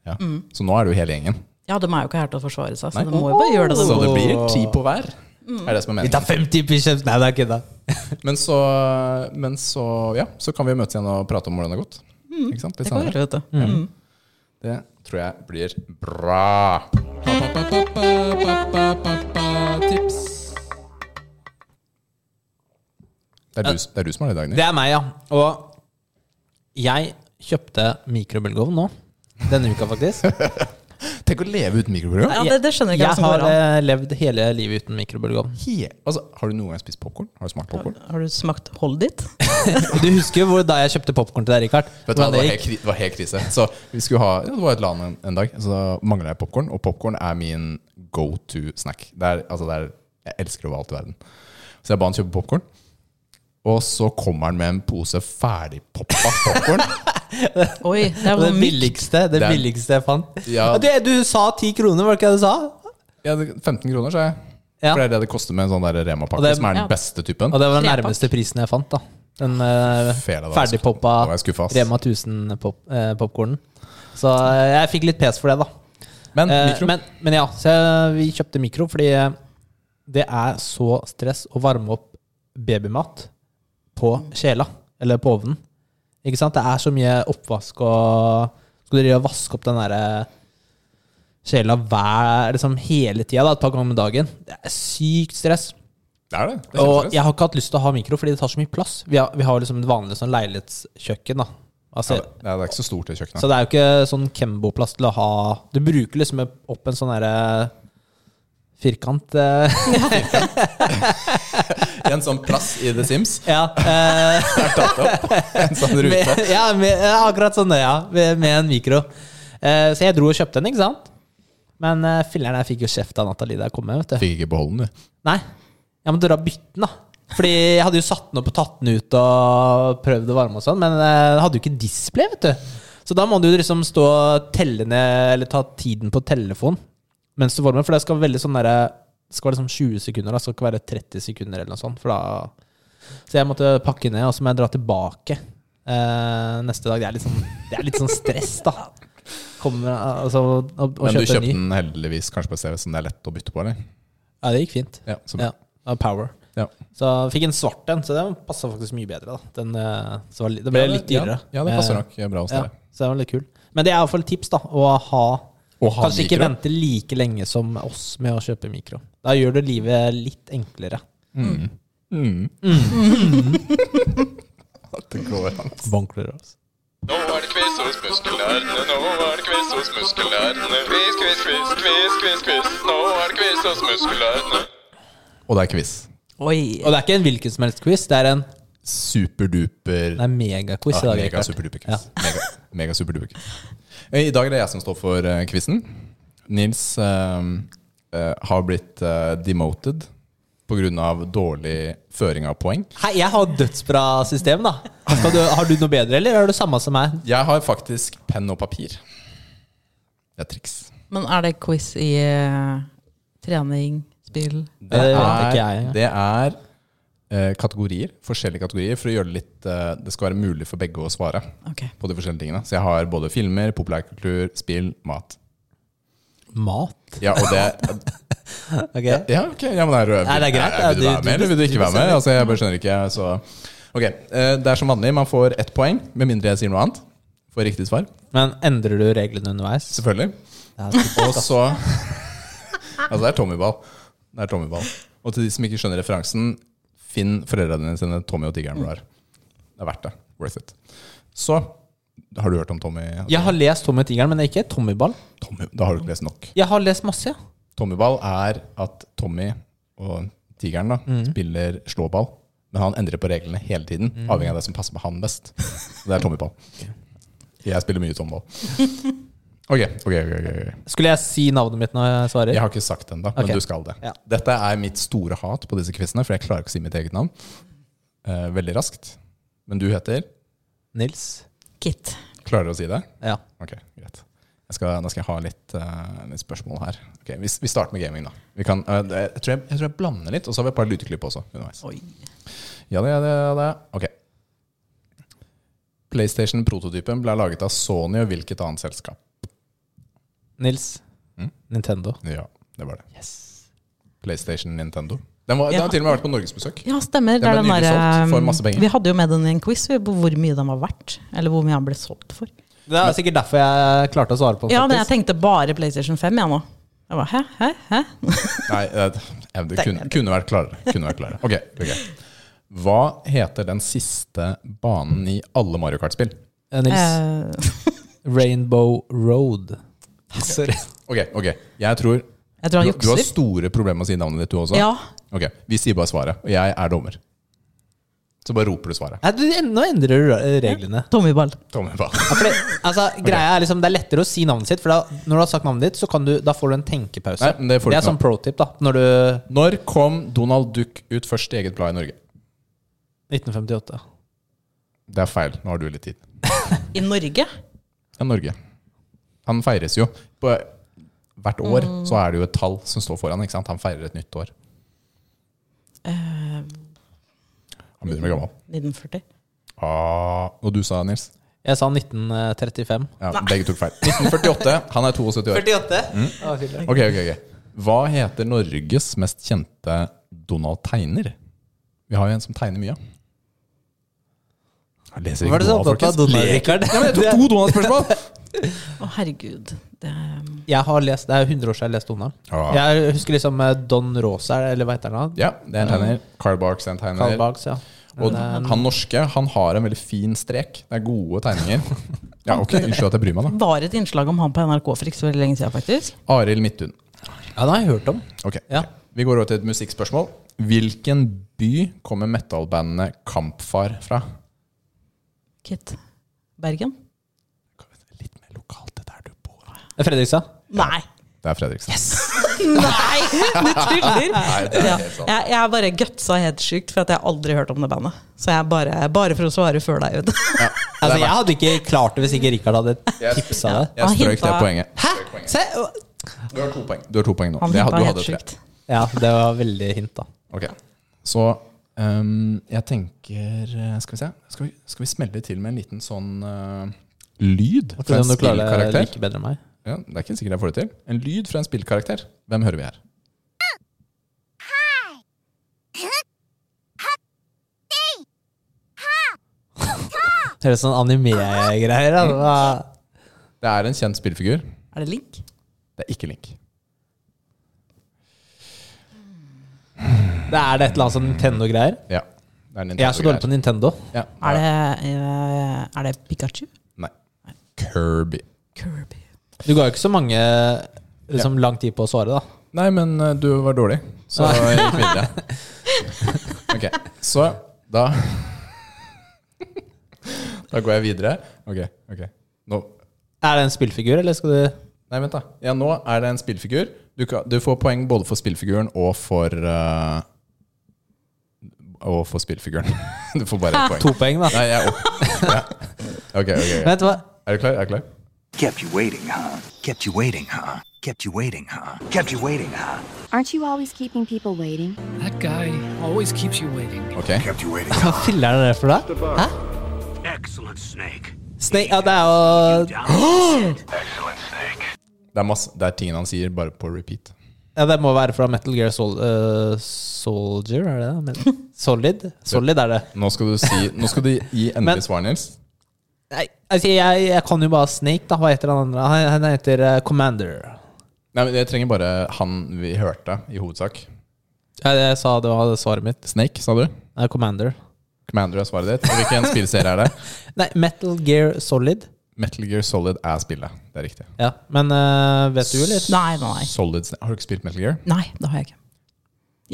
Speaker 1: Ja. Så nå er du hele gjengen.
Speaker 3: Ja, de er jo ikke her til å forsvare seg, Mm. så
Speaker 1: Nei. Sånn
Speaker 3: de må jo bare gjøre det.
Speaker 1: Så
Speaker 3: de må. Mm.
Speaker 1: det blir ti på hver. Er det som er
Speaker 2: Vi
Speaker 1: meningen.
Speaker 2: tar 50 pushups! Nei, det er kødda.
Speaker 1: Men så, men så, ja, så kan vi møtes igjen og prate om hvordan det har gått. Ikke sant? Litt
Speaker 3: Mm. Det kan vi
Speaker 1: senere.
Speaker 3: gjøre, vet du. Mm.
Speaker 1: Det tror jeg blir bra. Tips. Det er, du, det er du som har det i dag, Nick.
Speaker 2: Det er meg, ja. Og jeg kjøpte mikrobølgeovn nå. Denne uka,
Speaker 1: (laughs)
Speaker 2: faktisk.
Speaker 1: Tenk å leve uten mikroprogram.
Speaker 3: Ja, det, det skjønner jeg ikke hva
Speaker 2: Jeg
Speaker 3: som
Speaker 2: har
Speaker 3: går an.
Speaker 2: eh, levd hele livet uten mikrobølgeovn.
Speaker 1: He- Altså, har du noen gang spist popkorn? Har du smakt popkorn?
Speaker 3: Har du smakt hold dit?
Speaker 2: Du husker jo hvor, da jeg kjøpte popkorn til deg, Rikard?
Speaker 1: Vet du, hva,
Speaker 2: Hvordan
Speaker 1: det, var
Speaker 2: det
Speaker 1: helt,
Speaker 2: gikk?
Speaker 1: kri- det var helt krise. Så vi skulle ha, ja, Det var et LAN en, en dag, så da mangla jeg popkorn. Og popkorn er min go to snack. Det er, altså det er, jeg elsker det over alt i verden. Så jeg ba han kjøpe popkorn. Og så kommer han med en pose ferdigpoppa
Speaker 2: (laughs)
Speaker 1: popkorn.
Speaker 3: Oi, det er
Speaker 2: Det
Speaker 3: sånn mykt.
Speaker 2: billigste, det
Speaker 1: Den-
Speaker 2: billigste jeg fant.
Speaker 1: Ja.
Speaker 2: Og Det, du sa ti kroner, var det ikke det du sa?
Speaker 1: Ja, det- 15 kroner, sa jeg.
Speaker 2: Ja.
Speaker 1: For det er det det koster med en sånn der
Speaker 2: Og
Speaker 1: Rema-pakke,
Speaker 2: det-
Speaker 1: som er den
Speaker 3: ja.
Speaker 1: beste typen.
Speaker 2: Og det var den
Speaker 3: Trepakk.
Speaker 2: nærmeste prisen jeg fant, da. Den eh,
Speaker 1: Fela, da.
Speaker 2: ferdigpoppa
Speaker 1: Da var jeg skuffa, ass.
Speaker 2: Rema 1000-popkornen. Så eh, jeg fikk litt pes for det, da.
Speaker 1: Men
Speaker 2: Eh,
Speaker 1: mikro
Speaker 2: men, men ja, så jeg- vi kjøpte mikro fordi eh, det er så stress å varme opp babymat på kjela, eller på ovnen. Ikke sant? Det er så mye oppvask og Skal du drive og vaske opp den derre kjela hver, liksom hele tida, da, et par ganger om dagen? Det er sykt stress.
Speaker 1: Det er det. det er
Speaker 2: Og
Speaker 1: kjempestress.
Speaker 2: jeg har ikke hatt lyst til å ha mikro fordi det tar så mye plass. Vi har, vi har liksom et vanlig sånn leilighetskjøkken, da. Altså,
Speaker 1: ja, det, det er ikke så stort, det kjøkkenet.
Speaker 2: så det er jo ikke sånn Kembo-plass til å ha Du bruker liksom opp en sånn derre firkant eh, (laughs)
Speaker 1: En sånn plass i The Sims
Speaker 2: Ja. eh,
Speaker 1: er tatt opp. En
Speaker 2: (laughs)
Speaker 1: sånn rute.
Speaker 2: med, ja, med, ja, akkurat sånn, det, ja. Med, med en mikro. Eh, så jeg dro og kjøpte den, ikke sant? Men uh, filler'n, jeg fikk jo kjeft av Nathalie da jeg kom hjem, vet du.
Speaker 1: Fikk ikke beholde den, du.
Speaker 2: Nei. Jeg måtte dra bytten, da. Fordi jeg hadde jo satt den opp og tatt den ut og prøvd å varme og sånn, men jeg hadde jo ikke display, vet du. Så da må du liksom stå og telle ned, eller ta tiden på telefon mens du varmer, for det skal være veldig sånn derre det skal være liksom 20 sekunder, da. det skal ikke være 30 sekunder eller noe sånt. For da, så jeg måtte pakke ned, og så må jeg dra tilbake eh, neste dag. Det er, litt sånn, det er litt sånn stress, da. Kommer, altså, og, og
Speaker 1: Men du
Speaker 2: kjøpe en
Speaker 1: kjøpte
Speaker 2: ny.
Speaker 1: den heldigvis kanskje på et sted som det er lett å bytte på, eller?
Speaker 2: Ja, det gikk fint.
Speaker 1: Ja, så bra.
Speaker 2: Ja, av Power.
Speaker 1: Ja.
Speaker 2: Så jeg fikk en svart en, så den passa faktisk mye bedre. da Den, eh, så var, li- det ble
Speaker 1: Ja, det-
Speaker 2: litt dyrere.
Speaker 1: Ja, ja, det passer
Speaker 2: Eh,
Speaker 1: nok bra hos
Speaker 2: ja,
Speaker 1: dere.
Speaker 2: så det var litt kul. Men det er iallfall tips, da. Å ha
Speaker 1: Å ha
Speaker 2: Kanskje ikke
Speaker 1: mikro.
Speaker 2: vente like lenge som oss med å kjøpe mikro. Da gjør du livet litt enklere.
Speaker 1: Mm. (laughs) At det går an.
Speaker 2: Bonkler
Speaker 1: altså.
Speaker 2: også.
Speaker 4: Nå er det quiz hos muskelnerdene, nå er det quiz hos muskelnerdene. Quiz, quiz, quiz, quiz, quiz, quiz. Nå er det quiz hos muskelnerdene.
Speaker 1: Og det er quiz.
Speaker 3: Oi.
Speaker 2: Og det er ikke en hvilken som helst quiz, det er en
Speaker 1: Superduper
Speaker 2: det er megaquiz.
Speaker 1: ja,
Speaker 2: i dag,
Speaker 1: Mega
Speaker 2: Rikard.
Speaker 1: superduper
Speaker 2: Ja.
Speaker 1: quiz. Mega, mega superduper quiz. Eh, I dag er det jeg som står for eh, ehm, quizen. Nils eh, eh, har blitt eh, demoted pga. dårlig føring av poeng.
Speaker 2: Hei, jeg har dødsbra system, da. Skal du, har du noe bedre, eller er du samme som meg?
Speaker 1: Jeg har faktisk penn og papir. Det er triks.
Speaker 3: Men er det quiz i eh, trening, spill
Speaker 1: Det
Speaker 2: Det vet
Speaker 1: Eh, er,
Speaker 2: ikke jeg.
Speaker 1: det er eh, kategorier, forskjellige kategorier, for å gjøre det litt eh, Det skal være mulig for begge å svare
Speaker 3: Ok.
Speaker 1: på de forskjellige tingene. Så jeg har både filmer, populærkultur, spill, mat.
Speaker 2: Mat.
Speaker 1: Ja, og det
Speaker 2: Ok.
Speaker 1: Ja, ok, ja, men er,
Speaker 2: Nei, det er greit, ja,
Speaker 1: Vil du
Speaker 2: du-
Speaker 1: være med,
Speaker 2: du-
Speaker 1: eller vil du ikke
Speaker 2: du
Speaker 1: være med?
Speaker 2: bestemmer.
Speaker 1: Altså, jeg bare skjønner ikke, så Ok, eh, det er som vanlig. Man får ett poeng, med mindre jeg sier noe annet. For riktig svar,
Speaker 2: Men endrer du reglene underveis?
Speaker 1: selvfølgelig.
Speaker 2: Det er
Speaker 1: Og så Altså, det er Tommyball. Det er Tommyball. Og til de som ikke skjønner referansen, finn foreldrene dine sine Tommy og tigeren du har. Det er verdt det. Worth it. Så har du hørt om Tommy?
Speaker 2: Jeg har lest Tommy Tigeren, men ikke Tommyball.
Speaker 1: Tommy da har du ikke lest nok.
Speaker 2: Jeg har lest masse, ja.
Speaker 1: Tommyball er at Tommy og tigeren da, spiller slåball. Men han endrer på reglene hele tiden, avhengig av det som passer på han best. Det er Tommyball. Jeg spiller mye tommyball. Ok, ok, ok. ok, ok.
Speaker 2: Skulle jeg si navnet mitt når jeg svarer?
Speaker 1: Jeg har ikke sagt det ennå,
Speaker 2: Ok.
Speaker 1: men du skal det.
Speaker 2: Ja.
Speaker 1: Dette er mitt store hat på disse quizene, for jeg klarer ikke å si mitt eget navn eh, veldig raskt. Men du heter
Speaker 2: Nils.
Speaker 3: Kit.
Speaker 1: Klarer du å si det?
Speaker 2: Ja.
Speaker 1: Ok, greit. Jeg skal, nå skal jeg ha litt, eh, litt spørsmål her. Ok, vi, vi starter med gaming, da. Vi kan, eh, det- jeg, tror jeg, jeg tror jeg blander litt, og så har vi et par lydklipp også underveis.
Speaker 3: Oi.
Speaker 1: Ja, det, ja, det, ja, det. Ok. PlayStation-prototypen ble laget av Sony og hvilket annet selskap?
Speaker 2: Nils.
Speaker 1: Mm.
Speaker 2: Nintendo.
Speaker 1: Ja, det var det. PlayStation Nintendo. Den, var, den har
Speaker 3: Ja.
Speaker 1: til og med vært på norgesbesøk.
Speaker 3: Ja, stemmer. Det
Speaker 1: Den
Speaker 3: er
Speaker 1: ble
Speaker 3: den
Speaker 1: nylig
Speaker 3: der, um,
Speaker 1: solgt for masse penger.
Speaker 3: vi hadde jo med den i en quiz vi, på hvor mye den var verdt. Eller hvor mye den ble solgt for.
Speaker 2: Det er sikkert derfor jeg klarte å svare på
Speaker 3: Ja, men jeg
Speaker 2: faktisk.
Speaker 3: tenkte bare PlayStation 5, jeg nå. Jeg bare, hæ, hæ, hæ?
Speaker 1: Nei, eh, eh, det kunne, kunne vært klarere. Kunne vært klarere. Ok, ok. Hva heter den siste banen i alle Mario Kart-spill?
Speaker 2: Eh, Nils.
Speaker 3: Eh, (laughs)
Speaker 2: Rainbow Road.
Speaker 1: (laughs)
Speaker 2: Sorry.
Speaker 1: Ok, ok. Jeg tror
Speaker 3: jeg tror
Speaker 1: du,
Speaker 3: han
Speaker 1: du har
Speaker 3: jukser.
Speaker 1: store problemer med å si navnet ditt, du også.
Speaker 3: Ja.
Speaker 1: Ok, Vi sier bare svaret, og jeg er dommer. Så bare roper du svaret.
Speaker 2: Nei, du, en- nå endrer du ra- reglene.
Speaker 3: Tommyball.
Speaker 1: Tommy, hva?
Speaker 2: Ja, for det,
Speaker 1: (laughs)
Speaker 2: altså, greia er liksom, det er lettere å si navnet sitt, for da, når du har sagt navnet ditt, så kan du, da får du en tenkepause.
Speaker 1: Nei, men det får du
Speaker 2: er
Speaker 1: ikke
Speaker 2: sånn pro tip, da. Når du
Speaker 1: Når kom Donald Duck ut først i eget blad i Norge?
Speaker 2: 1958.
Speaker 1: Det er feil. Nå har du litt tid.
Speaker 3: I Norge?
Speaker 1: Det er Norge. Han feires jo. På, hvert år så er det jo et tall som står foran. ikke sant? Han feirer et nytt år.
Speaker 3: Eh,
Speaker 1: Han begynner å bli gammel.
Speaker 3: 1940.
Speaker 1: Ah, og du sa, Nils?
Speaker 2: Jeg sa 1935.
Speaker 1: Ja, begge tok feil. 1948. Han er 72 år.
Speaker 2: 48? Å, Ah, fy søren.
Speaker 1: Mm. Ok, ok, ok. Hva heter Norges mest kjente Donald Tegner? Vi har jo en som tegner mye. Jeg leser
Speaker 2: Hva er
Speaker 1: ikke
Speaker 2: det som
Speaker 1: Donald,
Speaker 2: opptatt av
Speaker 1: folkens.
Speaker 2: Donald,
Speaker 1: Leker.
Speaker 2: Rikard?
Speaker 1: Ja, men jeg tok (laughs) to Donald-spørsmål!
Speaker 3: Å, herregud. Det um, er,
Speaker 2: Jeg har lest, Det er 100 år siden jeg leste Donald.
Speaker 1: Ah.
Speaker 2: Jeg husker liksom eh, Don Rosa, eller hva heter han? da?
Speaker 1: Ja, det er en tegner. Carl Barks er en tegner.
Speaker 2: Carl Barks, ja.
Speaker 1: Og han norske han har en veldig fin strek. Det er gode tegninger. Ja, ok, Unnskyld at jeg bryr meg, da.
Speaker 3: var et innslag om han på NRK for ikke så veldig lenge siden, faktisk.
Speaker 1: Arild Midthun.
Speaker 2: Ja, den har jeg hørt om.
Speaker 1: Ok,
Speaker 2: Ja.
Speaker 1: ok. Vi går over til et musikkspørsmål. Hvilken by kommer metalbandet Kampfar fra?
Speaker 3: Kit. Bergen?
Speaker 1: Litt mer lokalt, det der du bor.
Speaker 2: Fredrikstad.
Speaker 3: Nei.
Speaker 1: Det er Fredrikstad.
Speaker 3: Nei, du tuller!
Speaker 1: det er
Speaker 3: Ja.
Speaker 1: helt sant.
Speaker 3: Jeg, jeg bare gutsa helt sykt, for at jeg har aldri hørt om det bandet. Så jeg bare, bare for å svare før deg ut.
Speaker 2: Altså, Jeg hadde ikke klart det hvis ikke Rikard hadde tipsa det.
Speaker 1: (laughs) Jeg
Speaker 3: Han
Speaker 1: strøk det
Speaker 3: hinta-
Speaker 1: poenget.
Speaker 2: Hæ?
Speaker 1: Strøk poenget.
Speaker 2: Se!
Speaker 1: Du har to poeng. Du har to poeng nå.
Speaker 3: Han
Speaker 1: Det hadde- du
Speaker 3: hippa helt
Speaker 1: hadde tre.
Speaker 3: sykt.
Speaker 2: Ja, det var veldig hint, da.
Speaker 1: Ok. Så ehm, jeg tenker eh, Skal vi se. Skal vi, skal vi smelle til med en liten sånn eh, lyd
Speaker 2: Jeg
Speaker 1: fra
Speaker 2: tror
Speaker 1: en
Speaker 2: om du klarer det
Speaker 1: spillkarakter?
Speaker 2: like bedre enn meg.
Speaker 1: Ja, det er ikke sikkert jeg får det til. En lyd fra en spillkarakter. Hvem hører vi her?
Speaker 2: Høres sånn anime-greier da. Det var-
Speaker 1: Det er en kjent spillfigur.
Speaker 3: Er det Link?
Speaker 1: Det er ikke Link.
Speaker 2: Det er det et eller annet sånn Nintendo-greier.
Speaker 1: Ja. Det er en
Speaker 2: Jeg er så dårlig på
Speaker 1: Nintendo-greier.
Speaker 2: Nintendo.
Speaker 1: Ja.
Speaker 3: Er det, eh, er det Pikachu?
Speaker 1: Nei. Kirby.
Speaker 3: Kirby.
Speaker 2: Du ga jo ikke så mange liksom, lang tid på å svare, da.
Speaker 1: Nei, men eh, du var dårlig, så jeg gikk
Speaker 3: (laughs)
Speaker 1: videre. Ok, så da Da går jeg videre. Ok, ok. Nå
Speaker 2: Er det en spillfigur, eller skal du
Speaker 1: Nei, vent, da. Ja, nå er det en spillfigur. Du, kan, du får poeng både for spillfiguren og for eh, å få spillfiguren. (laughs) Du får bare ett
Speaker 2: To
Speaker 1: poeng.
Speaker 2: poeng, da.
Speaker 1: Nei, jeg er opp. Ja. Ok, ok, ok.
Speaker 2: Vet du hva?
Speaker 1: Er du klar? Er du klar?
Speaker 5: Kept you waiting, huh? Kept you waiting, huh? Kept you waiting, huh? Kept you waiting, huh?
Speaker 6: Aren't you always keeping people waiting?
Speaker 7: That guy always keeps you waiting.
Speaker 1: Ok.
Speaker 5: Kept you waiting.
Speaker 2: Hva filler'n er det for deg? Hæ?
Speaker 5: Excellent (gasps) snake.
Speaker 2: Snake, ja, det er jo
Speaker 5: Excellent snake.
Speaker 1: Det er, masse, det er tingene han sier, bare på repeat.
Speaker 2: ja, Det må være fra Metal Gear Sol eh, Soldier, er det det? Men- (laughs) Solid? Solid er det.
Speaker 1: Nå skal du, si, nå skal du gi
Speaker 2: Men-
Speaker 1: endelig svar, Nils.
Speaker 2: Nei, altså, jeg, jeg kan jo bare Snake, da. Hva heter han andre? Han, han heter eh, Commander.
Speaker 1: Nei, men Jeg trenger bare han vi hørte, i hovedsak.
Speaker 2: Ja, jeg sa det var svaret mitt.
Speaker 1: Snake, sa du?
Speaker 2: Nei, Commander.
Speaker 1: Commander er svaret ditt. Og hvilken spillserie er det?
Speaker 2: Nei, Metal Gear Solid.
Speaker 1: Metal Gear Solid er spillet. Det er riktig.
Speaker 2: Ja, men eh, vet du jo litt?
Speaker 3: Nei, nei, nei.
Speaker 1: Solid Snake. Har du ikke spilt Metal Gear?
Speaker 3: Nei, det har jeg ikke.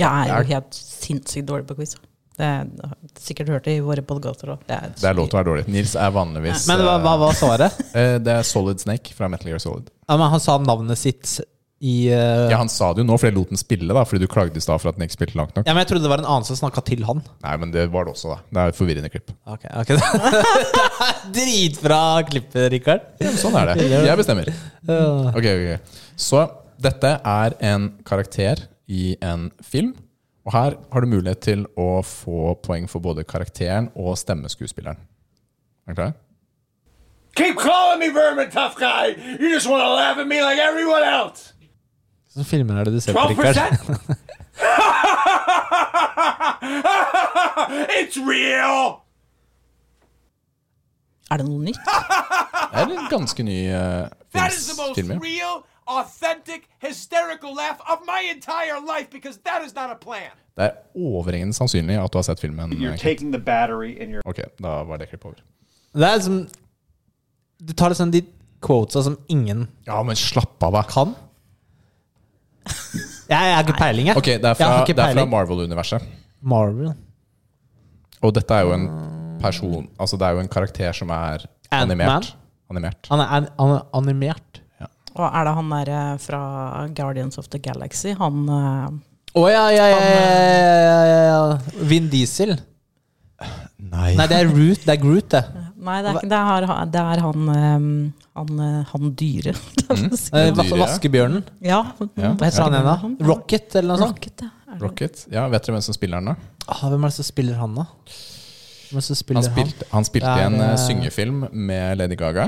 Speaker 3: Jeg er
Speaker 1: Jeg
Speaker 3: jo
Speaker 1: er-
Speaker 3: helt sinnssykt dårlig på quiz. Det er- jeg har sikkert hørt det i våre podkaster òg.
Speaker 1: Det er lov til å være dårlig. Nils er vanligvis
Speaker 2: Men hva, hva var svaret? (laughs)
Speaker 1: eh, Det er Solid Snake fra Metal Gear Solid.
Speaker 2: Ja, men han sa navnet sitt i eh,
Speaker 1: Ja, Han sa det jo nå, for jeg lot den spille, da fordi du klagde i stad for at den ikke spilte langt nok.
Speaker 2: Ja, men jeg trodde det var en annen som snakka til han.
Speaker 1: Nei, men det var det også, da. Det er et forvirrende klipp.
Speaker 2: Ok, ok (laughs) Det er dritbra klippet, Rikard.
Speaker 1: Sånn er det. Jeg bestemmer. Ok, ok. Så dette er en karakter i en film. Og her har du mulighet til å få poeng for både karakteren og stemmeskuespilleren. Er du klar?
Speaker 8: Keep calling me Vermin Tough Guy. You just want to laugh at me like everyone else. (laughs)
Speaker 2: Hvilke filmer er det du ser på,
Speaker 8: 12%?
Speaker 2: Rikard?
Speaker 8: It's real.
Speaker 3: Er det noe nytt?
Speaker 1: Det er en ganske ny uh,
Speaker 8: That is the most
Speaker 1: film. ja.
Speaker 8: real, authentic, hysterical laugh of my entire life because that is not a plan.
Speaker 1: Det er overhengende sannsynlig at du har sett filmen. eh,
Speaker 9: You're taking the battery in your
Speaker 1: Ok, da var det klippet over.
Speaker 2: Det er liksom Du tar liksom de quotesa som ingen
Speaker 1: Ja, men slapp av, da.
Speaker 2: kan. Jeg, jeg har ikke peiling, jeg.
Speaker 1: Ok, det er
Speaker 2: jeg
Speaker 1: fra,
Speaker 2: har ikke
Speaker 1: det er fra
Speaker 2: peiling.
Speaker 1: Marvel-universet.
Speaker 2: Marvel.
Speaker 1: Og dette er jo en person Altså, det er jo en karakter som er animert. Animert.
Speaker 2: Han er, an- han er animert.
Speaker 3: Og er det han der eh, fra Guardians of the Galaxy? Han eh,
Speaker 2: Å ja, ja, ja, ja, ja, ja. Vin Diesel.
Speaker 1: Nei.
Speaker 2: Nei, det er Root. Det er Groot, det.
Speaker 3: Nei, det er, ikke, det er, han- det er han eh, Han, eh, han dyre. (laughs)
Speaker 2: Eh,
Speaker 1: dyret, ja.
Speaker 2: Vaskebjørnen.
Speaker 3: ja.
Speaker 2: Hva heter han igjen, da? Rocket, eller noe sånt?
Speaker 3: Rocket, ja. Er det-
Speaker 1: Rocket. Ja, vet dere hvem som spiller den, da?
Speaker 2: Ah, hvem er det som spiller han, da? Hvem er det som spiller
Speaker 1: Han
Speaker 2: han?
Speaker 1: spilte, han spilte
Speaker 2: Det
Speaker 1: i
Speaker 2: er,
Speaker 1: en eh,
Speaker 2: eh,
Speaker 1: syngefilm med Lady Gaga.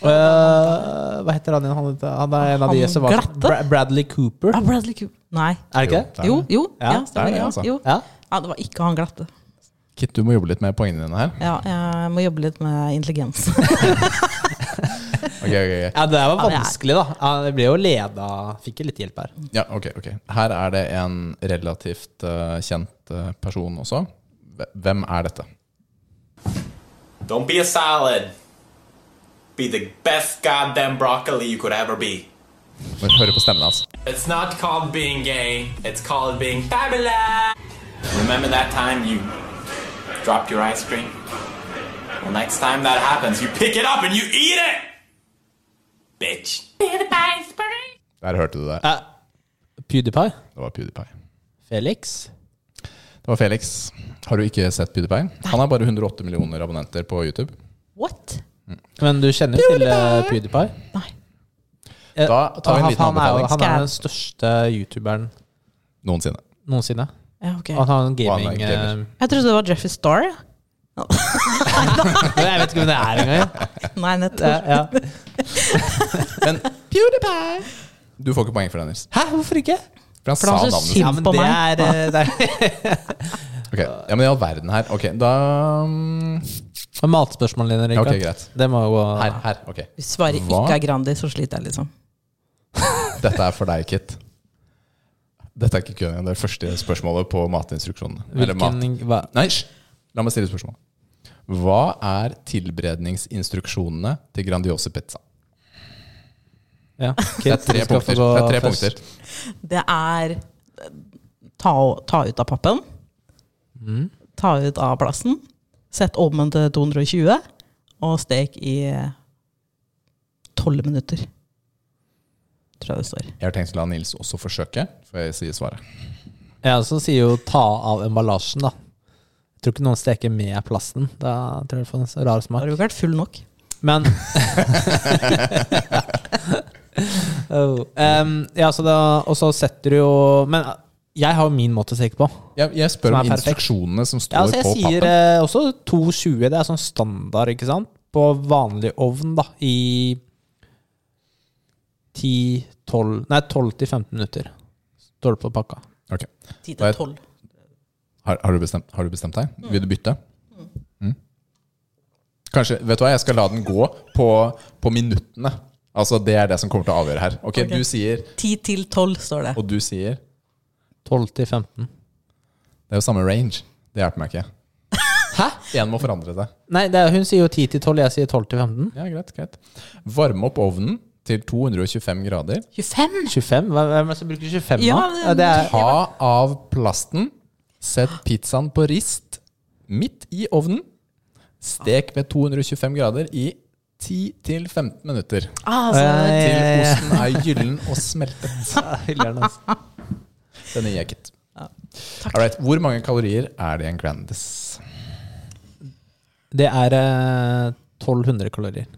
Speaker 2: Eh, hva heter han igjen? Han, heter- han er en av de
Speaker 3: Han
Speaker 2: som var
Speaker 3: glatte?
Speaker 2: Bra Bradley Cooper.
Speaker 3: Ah, Bradley Cooper. Nei.
Speaker 2: Er det ikke det?
Speaker 1: er
Speaker 3: Jo, jo.
Speaker 2: Ja,
Speaker 3: Ja,
Speaker 1: det er
Speaker 3: stemmer.
Speaker 1: det,
Speaker 3: Ja,
Speaker 1: altså.
Speaker 3: jo.
Speaker 2: Ja.
Speaker 3: ja, det var ikke han glatte.
Speaker 1: Kit, du må jobbe litt med poengene dine her.
Speaker 3: Ja, jeg må jobbe litt med intelligens. (laughs)
Speaker 1: Ok, ok, ok.
Speaker 2: ja, det der var
Speaker 3: Ja, det er-
Speaker 2: vanskelig, da. Ja, det ble jo leda Fikk jo litt hjelp her.
Speaker 1: Ja, ok, ok. Her er det en relativt eh, kjent eh, person også. Hve- Hvem er dette?
Speaker 10: Don't be a salad. Be the best goddamn broccoli you could ever be.
Speaker 1: Men Hører på stemmen hans.
Speaker 10: It's not called being gay, it's called being fabulous. Remember that time you dropped your ice cream? Well, next time that happens, you pick it up and you eat it! Bitch.
Speaker 1: Der hørte du det.
Speaker 2: Eh, PewDiePie?
Speaker 1: Det var PewDiePie.
Speaker 2: Felix?
Speaker 1: Det var Felix. Har du ikke sett PewDiePie? Han har bare 108 millioner abonnenter på YouTube.
Speaker 3: What?
Speaker 2: Men du kjenner jo til eh, PewDiePie?
Speaker 3: Nei.
Speaker 2: Eh,
Speaker 1: Da tar vi en
Speaker 2: han-
Speaker 1: liten
Speaker 2: han er jo-
Speaker 1: anbefaling.
Speaker 2: Han er den største youtuberen
Speaker 1: Noensinne.
Speaker 2: noensinne.
Speaker 3: Ja, ok.
Speaker 2: Han har en
Speaker 1: han er
Speaker 2: gaming...
Speaker 1: gamer.
Speaker 2: eh,
Speaker 3: Jeg trodde det var Jeffrey Star.
Speaker 2: jeg vet ikke hvem det er engang.
Speaker 3: Nei, nettopp.
Speaker 2: Ja, (laughs) ja.
Speaker 1: Men PewDiePie! Du får ikke poeng for det, Nils.
Speaker 2: Hæ, hvorfor ikke?
Speaker 1: For han
Speaker 3: For han
Speaker 1: sa
Speaker 3: er så
Speaker 1: navnet sitt.
Speaker 3: sint.
Speaker 2: Ja, men
Speaker 3: på
Speaker 2: det
Speaker 3: meg.
Speaker 2: er, eh, det (laughs) er
Speaker 1: Ok, Ja, men i all verden her. Ok, da mm,
Speaker 2: Men Matspørsmålet dine, Rikard.
Speaker 1: Ok, greit.
Speaker 2: Det må jo
Speaker 1: Her, her. Ok.
Speaker 3: Hvis svaret
Speaker 1: Hva?
Speaker 3: ikke er Grandi, så sliter jeg, liksom.
Speaker 1: Dette er for deg, Kit. Dette er ikke køen igjen. Det er første spørsmålet på matinstruksjonene. Eller mat.
Speaker 2: Hvilken, hva,
Speaker 1: Nei, hysj! La meg stille et spørsmål. Hva er tilberedningsinstruksjonene til Grandiosa pizza?
Speaker 2: ja.
Speaker 1: Det er tre punkter. Det er tre punkter.
Speaker 3: Det er eh, ta, ta ut av pappen.
Speaker 2: Mm.
Speaker 3: Ta ut av plassen. Sett ovnen til 220, og stek i eh, 12 minutter. Tror jeg det står.
Speaker 1: Jeg har tenkt å la Nils også forsøke, for jeg sier svaret.
Speaker 2: Jeg også sier jo ta av emballasjen, da. Jeg tror ikke noen steker med plasten. Da tror jeg det får en så rar
Speaker 3: Da har
Speaker 2: smak.
Speaker 3: du ikke vært full nok.
Speaker 2: Men (laughs) oh. um, Ja, så da Og så setter du jo Men jeg har jo min måte å steke på.
Speaker 1: Jeg, jeg spør
Speaker 2: Som
Speaker 1: om
Speaker 2: er perfekt.
Speaker 1: instruksjonene som står
Speaker 2: Ja, altså jeg
Speaker 1: på
Speaker 2: sier
Speaker 1: pappen.
Speaker 2: eh, også 220. Det er sånn standard, ikke sant? På vanlig ovn, da, i 10-12 Nei, 12-15 minutter. Står det på pakka.
Speaker 1: Ok.
Speaker 3: 10 til 12.
Speaker 1: Har, har, du bestemt, har du bestemt deg? Vil du bytte? Mm. Kanskje, vet du hva, jeg skal la den gå på, på minuttene. Altså Det er det som kommer til å avgjøre her. Ok,
Speaker 3: Ok.
Speaker 1: Du sier,
Speaker 3: 10 til 12 står det.
Speaker 1: og du sier.
Speaker 2: 12-15.
Speaker 1: Det er jo samme range. Det hjelper meg ikke. Hæ? Én må forandre seg.
Speaker 2: Nei, det er, hun sier jo 10 til 12, jeg sier 12 til 15.
Speaker 1: Ja, greit, greit. Varme opp ovnen til 225 grader.
Speaker 3: 25?
Speaker 2: 25? Hva- Hvem er det som bruker 25 nå?
Speaker 3: Ja,
Speaker 2: Ja, det (laughs) er,
Speaker 1: Ta av plasten. Sett pizzaen på rist midt i ovnen. Stek ved 225 grader i 10-15 minutter.
Speaker 2: Eh,
Speaker 1: Til osten er gyllen og smeltet. (laughs)
Speaker 2: hyggelig, altså.
Speaker 1: Den er jekket. Alright, Hvor mange kalorier er det i en Grandis?
Speaker 2: det er eh, 1200 kalorier.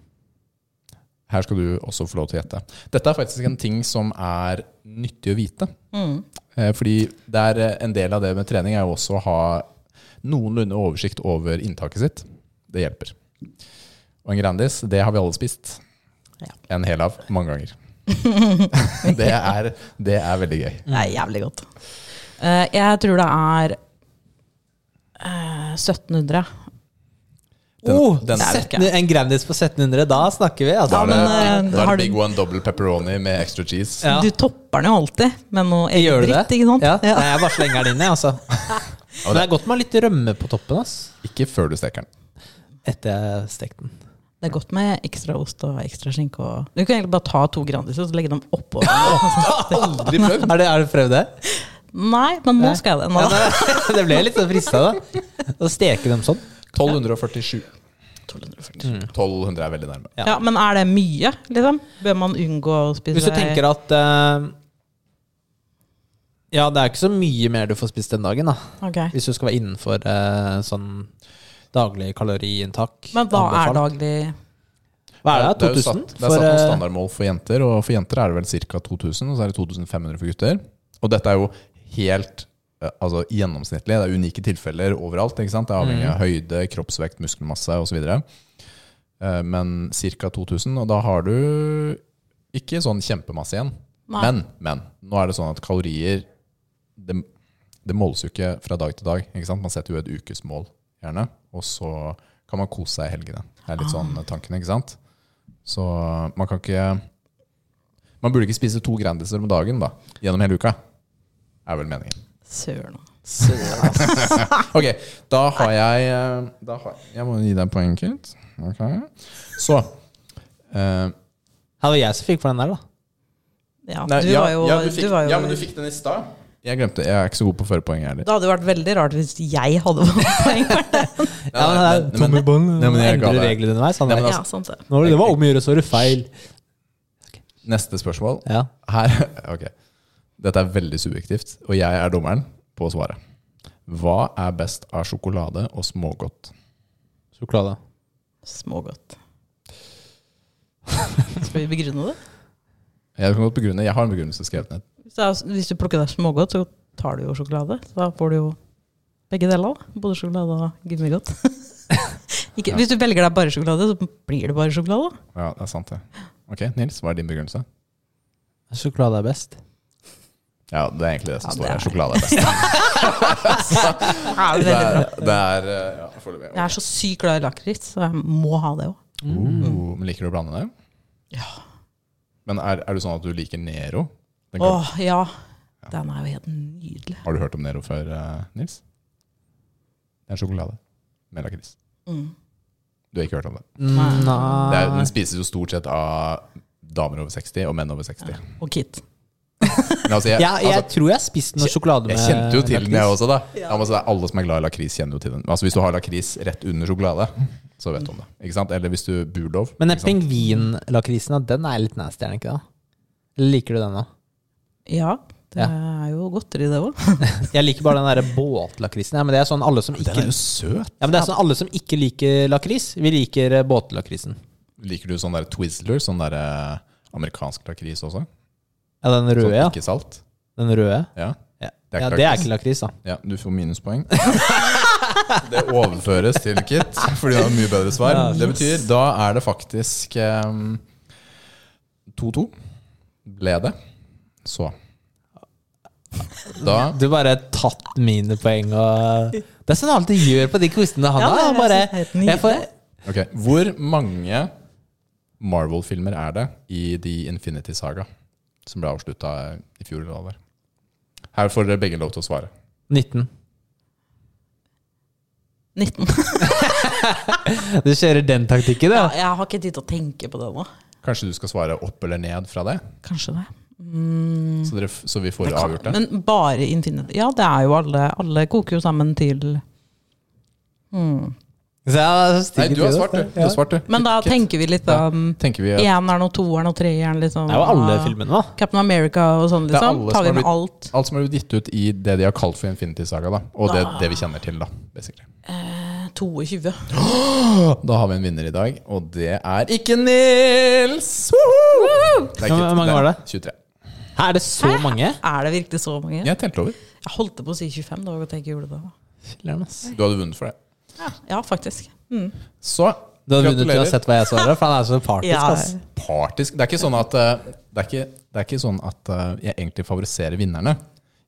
Speaker 1: Her skal du også få lov til å gjette. Dette er faktisk en ting som er nyttig å vite.
Speaker 3: Mm.
Speaker 1: Eh, Fordi det er eh, en del av det med trening er jo også å ha noenlunde oversikt over inntaket sitt. Det hjelper. Og en Grandis, det har vi alle spist. En hel av mange
Speaker 3: (laughs)
Speaker 1: ganger. det, er, det er veldig gøy.
Speaker 3: Det er jævlig godt. Eh, jeg tror det er eh, 1700.
Speaker 1: Den,
Speaker 2: Oh,
Speaker 1: den,
Speaker 3: det er-
Speaker 2: Setten- En Grandis på 1700, da snakker vi,
Speaker 1: da
Speaker 2: altså.
Speaker 3: Ja,
Speaker 1: er det,
Speaker 3: men, eh,
Speaker 1: da er
Speaker 3: har
Speaker 1: det
Speaker 3: du-
Speaker 1: Big One double pepperoni med extra cheese.
Speaker 2: Ja.
Speaker 3: Du topper den jo alltid med noe eget
Speaker 2: Gjør du
Speaker 3: dritt,
Speaker 2: det?
Speaker 3: ikke sant?
Speaker 2: Ja.
Speaker 3: Ja.
Speaker 2: Nei, jeg bare slenger den inn, jeg, (laughs) altså. Men det er godt med litt rømme på toppen, ass.
Speaker 1: Ikke før du steker den.
Speaker 2: Etter jeg stekte den.
Speaker 3: Det er godt med ekstra ost og ekstra skinke. Og... Du kan egentlig bare ta to Grandis og så legge dem oppå.
Speaker 1: Aldri
Speaker 3: (laughs)
Speaker 1: prøvd!
Speaker 2: Har du, har du prøvd det?
Speaker 3: Nei, men nå skal jeg det. Nå.
Speaker 2: Ja, det (laughs) ble litt sånn frista, da. Å steke dem sånn.
Speaker 1: 1247. 1200 Mm. er veldig nærme.
Speaker 3: Ja, men er det mye, liksom? Bør man unngå å spise
Speaker 2: Hvis du tenker at eh, Ja, det er ikke så mye mer du får spist den dagen, da.
Speaker 3: Ok.
Speaker 2: Hvis du skal være innenfor eh, sånn daglig kaloriinntak.
Speaker 3: Men hva er
Speaker 2: anbefalt.
Speaker 3: daglig
Speaker 2: Hva er
Speaker 1: Det er
Speaker 2: det?
Speaker 1: jo
Speaker 2: 2000?
Speaker 1: satt, det er
Speaker 2: For,
Speaker 1: satt
Speaker 2: eh,
Speaker 1: noen standardmål for jenter, og for jenter er det vel ca. 2000, og så er det 2500 for gutter. Og dette er jo helt eh, altså, gjennomsnittlig. Det er unike tilfeller overalt. Ikke sant? Det
Speaker 2: Mm.
Speaker 1: er avhengig av høyde, kroppsvekt, muskelmasse osv. Eh, Men ca. 2000, og da har du ikke sånn kjempemasse igjen.
Speaker 3: Nei.
Speaker 1: Men, men nå er det sånn at kalorier det, det måles jo ikke fra dag til dag. Ikke sant? Man setter jo et ukesmål, gjerne. Og så kan man kose seg i helgene. Det er litt sånn
Speaker 2: Ah.
Speaker 1: tanken, ikke sant? Så man kan ikke Man burde ikke spise to Grandiser om dagen da gjennom hele uka. Er vel meningen.
Speaker 3: Søren.
Speaker 1: Ok, da har jeg eh, da har, Jeg må gi deg poeng, Kurt. Ok. Så eh,
Speaker 2: Det var jeg som fikk for den der, da.
Speaker 3: Ja,
Speaker 1: nei,
Speaker 3: du,
Speaker 1: ja,
Speaker 3: var jo,
Speaker 1: ja, du fikk,
Speaker 3: var jo
Speaker 1: ja, men du fikk den i stad. Jeg glemte, jeg er ikke så god på å føre poeng, jeg heller.
Speaker 3: Det hadde jo vært veldig rart hvis jeg hadde fått (laughs) poeng for det.
Speaker 2: Ja, men, det er tomme bånd.
Speaker 1: Nei, men jeg ga
Speaker 2: Endrer
Speaker 1: deg.
Speaker 2: regler underveis. Han
Speaker 1: Nei,
Speaker 2: der.
Speaker 1: men altså,
Speaker 3: Ja, sant det.
Speaker 2: Nå, det var om å gjøre, så var det feil.
Speaker 1: Neste spørsmål.
Speaker 2: Ja.
Speaker 1: Her, (laughs) ok Dette er veldig subjektivt, og jeg er dommeren på svaret. Hva er best av sjokolade og smågodt?
Speaker 2: Sjokolade.
Speaker 3: Smågodt. Skal vi begrunne det?
Speaker 1: Jeg kan godt begrunne, jeg har en begrunnelse skrevet ned.
Speaker 3: Hvis, det er, altså, hvis du plukker deg smågodt, så tar du jo sjokolade. Så da får du jo begge deler. da. Både sjokolade og gummigodt. (laughs) Ikke, Hvis du velger deg bare sjokolade, så blir det bare sjokolade.
Speaker 1: Ja, det er sant det. Ok, Nils, hva er din begrunnelse?
Speaker 2: Sjokolade er best.
Speaker 1: Ja, det er egentlig det som
Speaker 3: (laughs) Ja,
Speaker 1: står
Speaker 3: det
Speaker 1: her.
Speaker 3: er-
Speaker 1: Sjokolade er best.
Speaker 3: Ja,
Speaker 1: Det
Speaker 3: det er veldig bra.
Speaker 1: er, det er eh, ja, foreløpig.
Speaker 3: Jeg er så sykt glad i lakris, så jeg må ha det òg.
Speaker 1: Oh, men liker du å blande det?
Speaker 3: Ja.
Speaker 1: Men er, er det sånn at du liker Nero? Den kan-
Speaker 3: Åh, ja. Den er jo helt nydelig.
Speaker 1: Har du hørt om Nero før, eh, Nils? Det er sjokolade med lakris.
Speaker 3: Mm.
Speaker 1: Du har ikke hørt om det? Det er, den spises jo stort sett av damer over 60 og menn over 60.
Speaker 3: Og Kit.
Speaker 1: Men altså, jeg,
Speaker 2: Ja, jeg
Speaker 1: altså,
Speaker 2: tror jeg har spist noe sjokolade med
Speaker 1: jeg kjente jo til den, jeg
Speaker 2: eh, lakris.
Speaker 1: også. da ja. men altså, det er Alle som er glad i lakris, kjenner jo til den. Altså Hvis du har lakris rett under sjokolade, så vet du om det. Ikke sant? Eller hvis du Bulldog.
Speaker 2: Men den
Speaker 1: ikke sant?
Speaker 2: pingvinlakrisen, den er litt nasty, er den ikke det? Eller liker du den nå?
Speaker 3: Ja. Det er jo godteri, det òg. (laughs)
Speaker 2: Jeg liker bare den derre båtlakrisen. Ja, men det er sånn alle som ikke
Speaker 1: Den er jo søt.
Speaker 2: ja, men det er sånn alle som ikke liker lakris, vi liker eh, båtlakrisen.
Speaker 1: Liker du sånn der Twizzler? Sånn der eh, amerikansk lakris også?
Speaker 2: Ja, den
Speaker 1: Sånn
Speaker 2: røde, ja.
Speaker 1: ikke salt?
Speaker 2: Den røde.
Speaker 1: Ja.
Speaker 2: Ja,
Speaker 1: Det er
Speaker 2: ja
Speaker 1: ikke
Speaker 2: det er
Speaker 1: lakris.
Speaker 2: ikke lakris, da.
Speaker 1: ja, du får minuspoeng. (laughs) Det overføres til Kit, fordi det har mye bedre svar. Det betyr da er det faktisk eh, 2-2. Ble det. Så Da
Speaker 2: Du bare har tatt mine poeng og Det er sånn jeg alltid gjør på de quizene han
Speaker 3: Ja,
Speaker 2: har.
Speaker 3: det er
Speaker 2: bare,
Speaker 3: helt nydelig.
Speaker 2: jeg får,
Speaker 1: Ok, Hvor mange Marvel-filmer er det i The Infinity Saga? Som ble avslutta i fjor. eller hva det var? Her får dere begge lov til å svare.
Speaker 2: 19.
Speaker 3: 19.
Speaker 2: Du kjører den taktikken,
Speaker 3: Ja,
Speaker 2: ja.
Speaker 3: jeg har ikke tid til å tenke på det nå.
Speaker 1: Kanskje du skal svare opp eller ned fra det?
Speaker 3: Kanskje det.
Speaker 1: Så, dere, f- så vi får avgjort det?
Speaker 3: Men bare Infinity. Ja, det er jo alle. Alle koker jo sammen til
Speaker 2: Så jeg har
Speaker 1: Nei,
Speaker 2: stigget
Speaker 1: du har
Speaker 2: i det,
Speaker 1: svart,
Speaker 2: så-
Speaker 1: du. du har svart, du.
Speaker 3: Men da
Speaker 1: Kit,
Speaker 3: tenker vi litt på um,
Speaker 1: tenker vi at
Speaker 3: eneren og toeren og treeren, liksom.
Speaker 2: Det er jo alle
Speaker 3: og
Speaker 2: filmene, da.
Speaker 3: Captain America og sånn,
Speaker 1: Det er
Speaker 3: liksom.
Speaker 1: alle som
Speaker 3: Tar vi
Speaker 1: har
Speaker 3: med
Speaker 1: blitt-
Speaker 3: alt.
Speaker 1: alt som er blitt gitt ut i det de har kalt for Infinity Saga, da, og det, det vi kjenner til, da. basically.
Speaker 3: 22.
Speaker 1: Da har vi en vinner i dag, og det er ikke Nils! Woohoo! Det er
Speaker 2: Hvor
Speaker 1: Kit.
Speaker 2: mange var det?
Speaker 1: 23.
Speaker 2: Her er det så mange.
Speaker 3: (laughs) Er det virkelig så mange?
Speaker 1: Jeg telte over.
Speaker 3: Jeg holdt på å si 25, det var godt jeg ikke gjorde det. da.
Speaker 2: Filler'n, ass.
Speaker 1: Du hadde vunnet for det.
Speaker 3: Ja, faktisk.
Speaker 1: Så
Speaker 2: Du har vunnet til å ha sett hva jeg svarer, for han er så partisk.
Speaker 3: Ja.
Speaker 2: ass.
Speaker 1: partisk. Det er ikke sånn at, eh, det er ikke, det er ikke sånn at eh, jeg egentlig favoriserer vinnerne.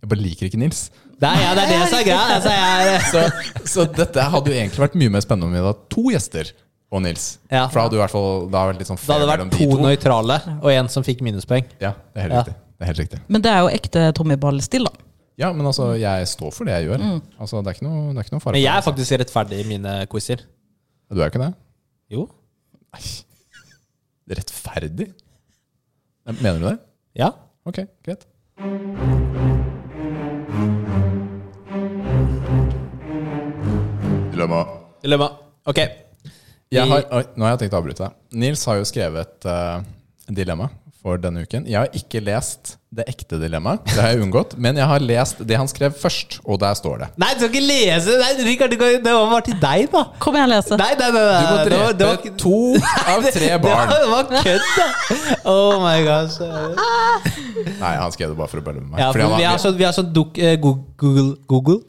Speaker 1: Jeg bare liker ikke Nils.
Speaker 2: Det er, ja, det er det som er greia. Altså, jeg er,
Speaker 1: (laughs) Så, så dette hadde jo egentlig vært mye mer spennende om vi hadde hatt to gjester og Nils.
Speaker 2: Ja.
Speaker 1: For da hadde, du i hvert fall, da hadde det vært litt sånn
Speaker 2: det hadde
Speaker 1: fair
Speaker 2: vært
Speaker 1: mellom de
Speaker 2: to nøytrale og en som fikk minuspoeng.
Speaker 1: Ja, det er helt
Speaker 2: Ja.
Speaker 1: riktig. Det er helt riktig.
Speaker 3: Men det er jo ekte Tommy Ball-stil, da.
Speaker 1: Ja, men altså, jeg står for det jeg gjør. Altså, det er ikke noe, det er ikke noe fare
Speaker 2: Mm. Men jeg
Speaker 1: for
Speaker 2: er faktisk rettferdig i mine quizer.
Speaker 1: det. Du er jo ikke det?
Speaker 2: Jo.
Speaker 1: Rettferdig? Mener du det?
Speaker 2: Ja.
Speaker 1: Ok, greit. Dilemma.
Speaker 2: Dilemma. Ok.
Speaker 1: Jeg har, oi, nå har jeg tenkt å avbryte deg. Nils har jo skrevet eh, dilemma for denne uken. Jeg har ikke lest det ekte dilemmaet, det har jeg unngått. Men jeg har lest det han skrev først, og der står det.
Speaker 2: Nei, du skal ikke lese! Nei, Rikard, du kan- det var bare til deg, da.
Speaker 3: Kom igjen, lese.
Speaker 2: Nei, nei, nei, nei.
Speaker 1: Du må
Speaker 2: Eh, det var- det var
Speaker 1: drepe
Speaker 2: ikke-
Speaker 1: to av tre barn.
Speaker 2: (laughs) Det var, det var kødd, da. Oh my gosh.
Speaker 1: Nei, han skrev det bare for å bølle med meg.
Speaker 2: Ja,
Speaker 1: fordi
Speaker 2: for
Speaker 1: han
Speaker 2: vi
Speaker 1: har-
Speaker 2: har sånn, vi har sånn duk, eh, Gu- Google Google?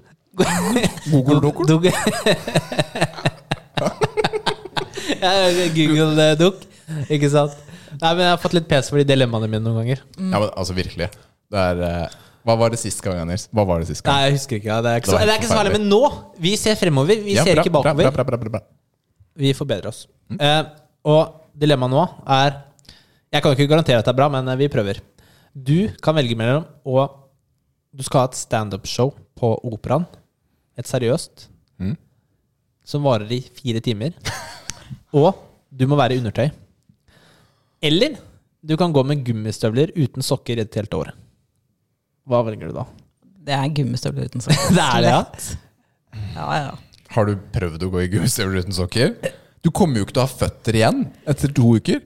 Speaker 1: Google-dokel?
Speaker 2: Duk- (laughs) ja, Google-dukk. Ikke sant? Nei, men Jeg har fått litt pes for de dilemmaene mine noen ganger.
Speaker 1: Ja, men altså virkelig. Det er, eh, hva var det sist gang, Nils? Hva var det sist gang?
Speaker 2: Nei, jeg husker ikke. Ja. Det er ikke,
Speaker 1: Det var
Speaker 2: så,
Speaker 1: helt
Speaker 2: det er ikke så farlig,
Speaker 1: forferdelig.
Speaker 2: men nå Vi ser fremover. Vi
Speaker 1: Ja,
Speaker 2: ser
Speaker 1: bra,
Speaker 2: ikke
Speaker 1: bra,
Speaker 2: bakover.
Speaker 1: bra, bra, bra, bra, bra.
Speaker 2: Vi forbedrer oss. Eh, og dilemmaet nå er Jeg kan jo ikke garantere at det er bra, men eh, vi prøver. Du kan velge mellom å Du skal ha et standup-show på Operaen. Et seriøst. Som varer i fire timer. (laughs) og du må være i undertøy. Eller du kan gå med gummistøvler uten sokker et helt år. Hå Hva velger du da?
Speaker 3: Det er gummistøvler uten sokker.
Speaker 2: Det er det, ja.
Speaker 3: Ja, ja.
Speaker 1: Har du prøvd å gå i gummistøvler uten sokker? Du kommer jo ikke til å ha føtter igjen etter to uker.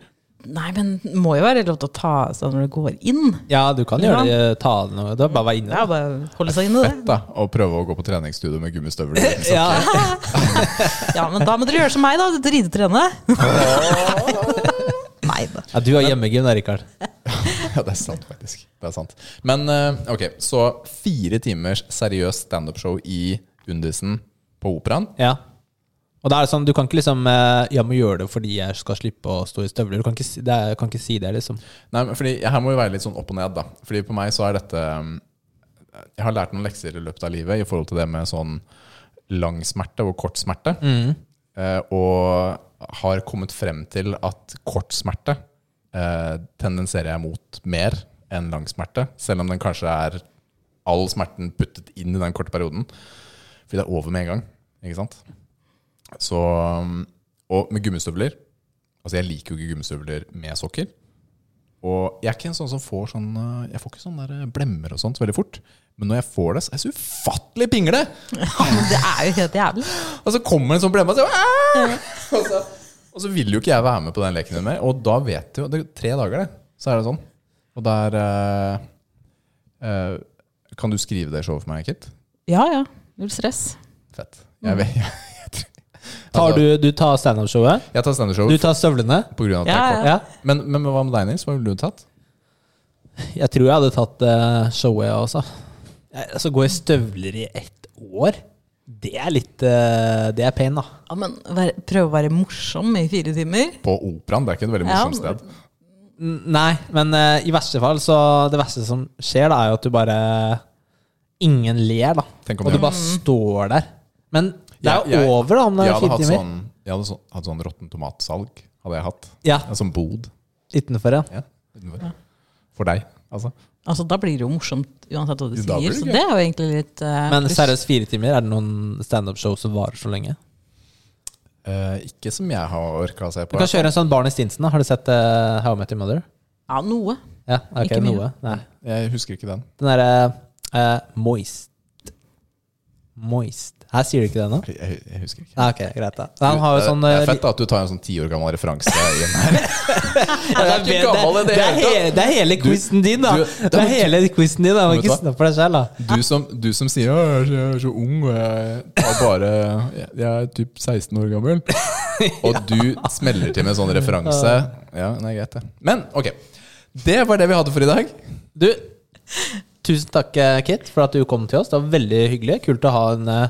Speaker 3: Nei, men må jo være lov til å ta av seg når du går inn.
Speaker 2: Ja, du kan gjøre det. Ta av noe. Da bare være
Speaker 3: Det er
Speaker 2: inne.
Speaker 3: jo bare å holde seg inne, det.
Speaker 1: Da, og prøve å gå på treningsstudio med gummistøvler uten sokker.
Speaker 2: Ja. (laughs)
Speaker 3: Ja, men da må dere gjøre som meg, da. Ridetrene. Nei da.
Speaker 2: ja, du har hjemmegym da, Rikard.
Speaker 1: Ja, det er sant, faktisk. Det er sant. Men eh, ok, så fire timers seriøst standup-show i Undisen på Operaen.
Speaker 2: Ja. Og da er det sånn, du kan ikke liksom eh, Jeg må gjøre det fordi jeg skal slippe å stå i støvler. Du kan ikke, si- det er, kan ikke si det, liksom.
Speaker 1: Nei, men fordi Her må vi være litt sånn opp og ned. da Fordi på meg så er dette um, Jeg har lært noen lekser i løpet av livet i forhold til det med sånn lang smerte og kort smerte. Eh, og har kommet frem til at kort smerte eh, tendenserer jeg mot mer enn lang smerte. Selv om den kanskje er all smerten puttet inn i den korte perioden. Fordi det er over med en gang. Ikke sant? Så um, Og med gummistøvler Altså, jeg liker jo ikke gummistøvler med sokker. Og jeg er ikke en sånn som får sånn eh, Jeg får ikke sånne der eh, blemmer og sånt veldig fort. Men når jeg får det, så er jeg så ufattelig pingle!
Speaker 3: Men det er jo helt jævlig.
Speaker 1: Og så kommer en sånn blemme, og så, «Aah!» og så Og så vil jo ikke jeg være med på den leken mer. Og da vet du jo det er Tre dager, det. Så er det sånn. Og det er eh, Eh, kan du skrive det showet for meg, Kit?
Speaker 3: Ja, ja. Null stress.
Speaker 1: Fett. Jeg, vet, (laughs) jeg,
Speaker 2: Mm.
Speaker 1: Altså,
Speaker 2: Tar du, du tar standup-showet?
Speaker 1: jeg tar
Speaker 2: Du
Speaker 1: standup-show
Speaker 2: tar støvlene?
Speaker 1: på grunn av at det
Speaker 3: Ja,
Speaker 1: er kort.
Speaker 2: Ja.
Speaker 1: Men, men hva med deg, Nils? Hva ville du tatt?
Speaker 2: Jeg tror jeg hadde tatt eh, showet, altså. Jeg- Altså, gå i støvler i ett år, det er litt eh, Det er pain, da.
Speaker 3: Ja, men vær, prøv å være morsom i fire timer.
Speaker 1: På operaen? Det er ikke et veldig morsomt
Speaker 3: Ja.
Speaker 1: sted.
Speaker 2: N- Nei, men eh, i verste fall, så Det verste som skjer, da, er jo at du bare Ingen ler, da.
Speaker 1: Tenk om
Speaker 2: Og du
Speaker 1: det-
Speaker 2: bare står der. Men det er jo
Speaker 1: Jeg- jeg-
Speaker 2: over, da, om det
Speaker 1: Jeg
Speaker 2: er
Speaker 1: hadde
Speaker 2: fire
Speaker 1: hatt
Speaker 2: timer.
Speaker 1: sånn, jeg hadde så, hatt sånn råtten tomatsalg. Hadde jeg hatt.
Speaker 2: Ja,
Speaker 1: En sånn bod.
Speaker 2: utenfor, ja.
Speaker 1: Ja, utenfor. For deg, altså.
Speaker 3: Altså, Da blir det jo morsomt uansett hva du
Speaker 1: Da blir
Speaker 3: sier.
Speaker 1: det
Speaker 3: Så
Speaker 1: gøy.
Speaker 3: det er jo egentlig litt eh,
Speaker 2: Men
Speaker 3: pluss.
Speaker 2: seriøst, fire timer? Er det noen standup-show som varer så lenge?
Speaker 1: Eh, ikke som jeg har orka å se
Speaker 2: Du
Speaker 1: på.
Speaker 2: kan kjøre en sånn Barney Stinson. da. Har du sett eh, How I Met Your Mother?
Speaker 3: Ja, noe.
Speaker 2: Ja, ok,
Speaker 3: Ikke mye.
Speaker 2: noe. Nei.
Speaker 1: Jeg husker ikke den.
Speaker 2: Den derre eh, moist. Moist. Her sier du ikke det nå?
Speaker 1: Jeg, jeg husker ikke.
Speaker 2: Nei, ok, greit da. Nei, Han har jo sånn
Speaker 1: det
Speaker 2: eh,
Speaker 1: er fett da, at du tar en sånn ti år gammel referanse
Speaker 2: (laughs)
Speaker 1: inn her.
Speaker 2: det,
Speaker 1: ikke gammel i det
Speaker 2: det, er
Speaker 1: hele tatt.
Speaker 2: he- det er hele quizen din, da!
Speaker 1: du-
Speaker 2: det er hele quizen din, da. Du må
Speaker 1: Vet du
Speaker 2: ikke
Speaker 1: hva?
Speaker 2: snappe deg selv, da.
Speaker 1: Du som, du som sier «Å, jeg er så- jeg er så ung, og jeg er bare Jeg, jeg er typ 16 år gammel. Og du smeller til med en sånn referanse. Ja, nei, greit det. Men ok. Det var det vi hadde for i dag.
Speaker 2: Du, tusen takk, eh, Kit, for at du kom til oss. Det var veldig hyggelig. Kult å ha en eh,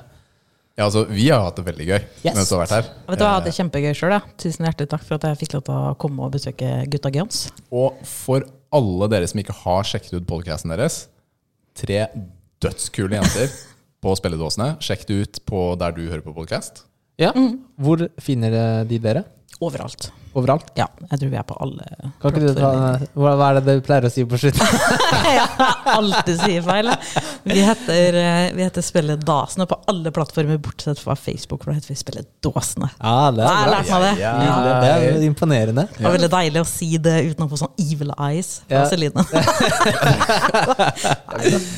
Speaker 1: Ja, altså, Vi har hatt det veldig gøy
Speaker 2: Yes.
Speaker 1: mens du har vært her.
Speaker 3: Vet du hva, Jeg
Speaker 1: Eh.
Speaker 3: hadde det kjempegøy sjøl. Tusen hjertelig takk for at jeg fikk lov til å komme og besøke gutta Guns.
Speaker 1: Og for alle dere som ikke har sjekket ut podcasten deres, tre dødskule jenter på spilledåsene. Sjekk det ut på der du hører på podcast.
Speaker 2: Ja, hvor finner eh, de dere?
Speaker 3: Overalt.
Speaker 2: Overalt?
Speaker 3: Ja, jeg tror vi er på alle
Speaker 2: Kan ikke du ta,
Speaker 3: (laughs)
Speaker 2: hva, hva er det du pleier å si på slutten?
Speaker 3: Jeg alltid sier feil. jeg. Vi heter, eh, vi heter Spillet Dasene på alle plattformer, bortsett fra Facebook, for da heter vi Spillet Dåsene.
Speaker 2: (laughs) Ja, det
Speaker 3: Jeg har
Speaker 2: er bra.
Speaker 3: lært meg det.
Speaker 1: Ja, ja.
Speaker 2: Nydelig. Det er jo imponerende.
Speaker 3: Det var veldig deilig å si det uten å få sånn evil eyes fra
Speaker 2: Ja.
Speaker 3: Celine.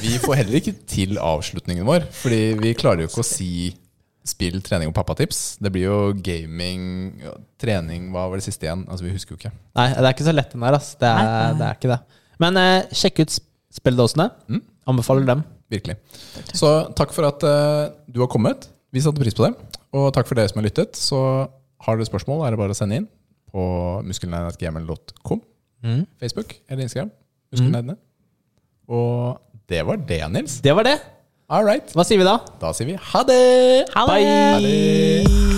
Speaker 1: Vi får heller ikke til avslutningen vår, fordi vi klarer jo ikke å si spill, trening og pappatips. Det blir jo gaming, ja, trening, hva var det siste igjen? Altså, vi husker jo ikke.
Speaker 2: Nei, det er ikke så lett den der, ass. Det er,
Speaker 3: Nei, nei.
Speaker 2: Det er ikke det. Men eh, sjekk ut sp- spilledåsene. Anbefaler dem.
Speaker 1: Virkelig. Så takk for at eh, du har kommet. Vi satte pris på det. Og takk for dere som har lyttet. Så har dere spørsmål, er det bare å sende inn på muskelnerdene.gml.com. Mm. Facebook eller Instagram. Muskelnerdene. Mm. Og det var det, Nils.
Speaker 2: Det var det.
Speaker 1: All right.
Speaker 2: Hva sier vi da?
Speaker 1: Da sier vi ha det!
Speaker 3: Ha det!
Speaker 2: Bye!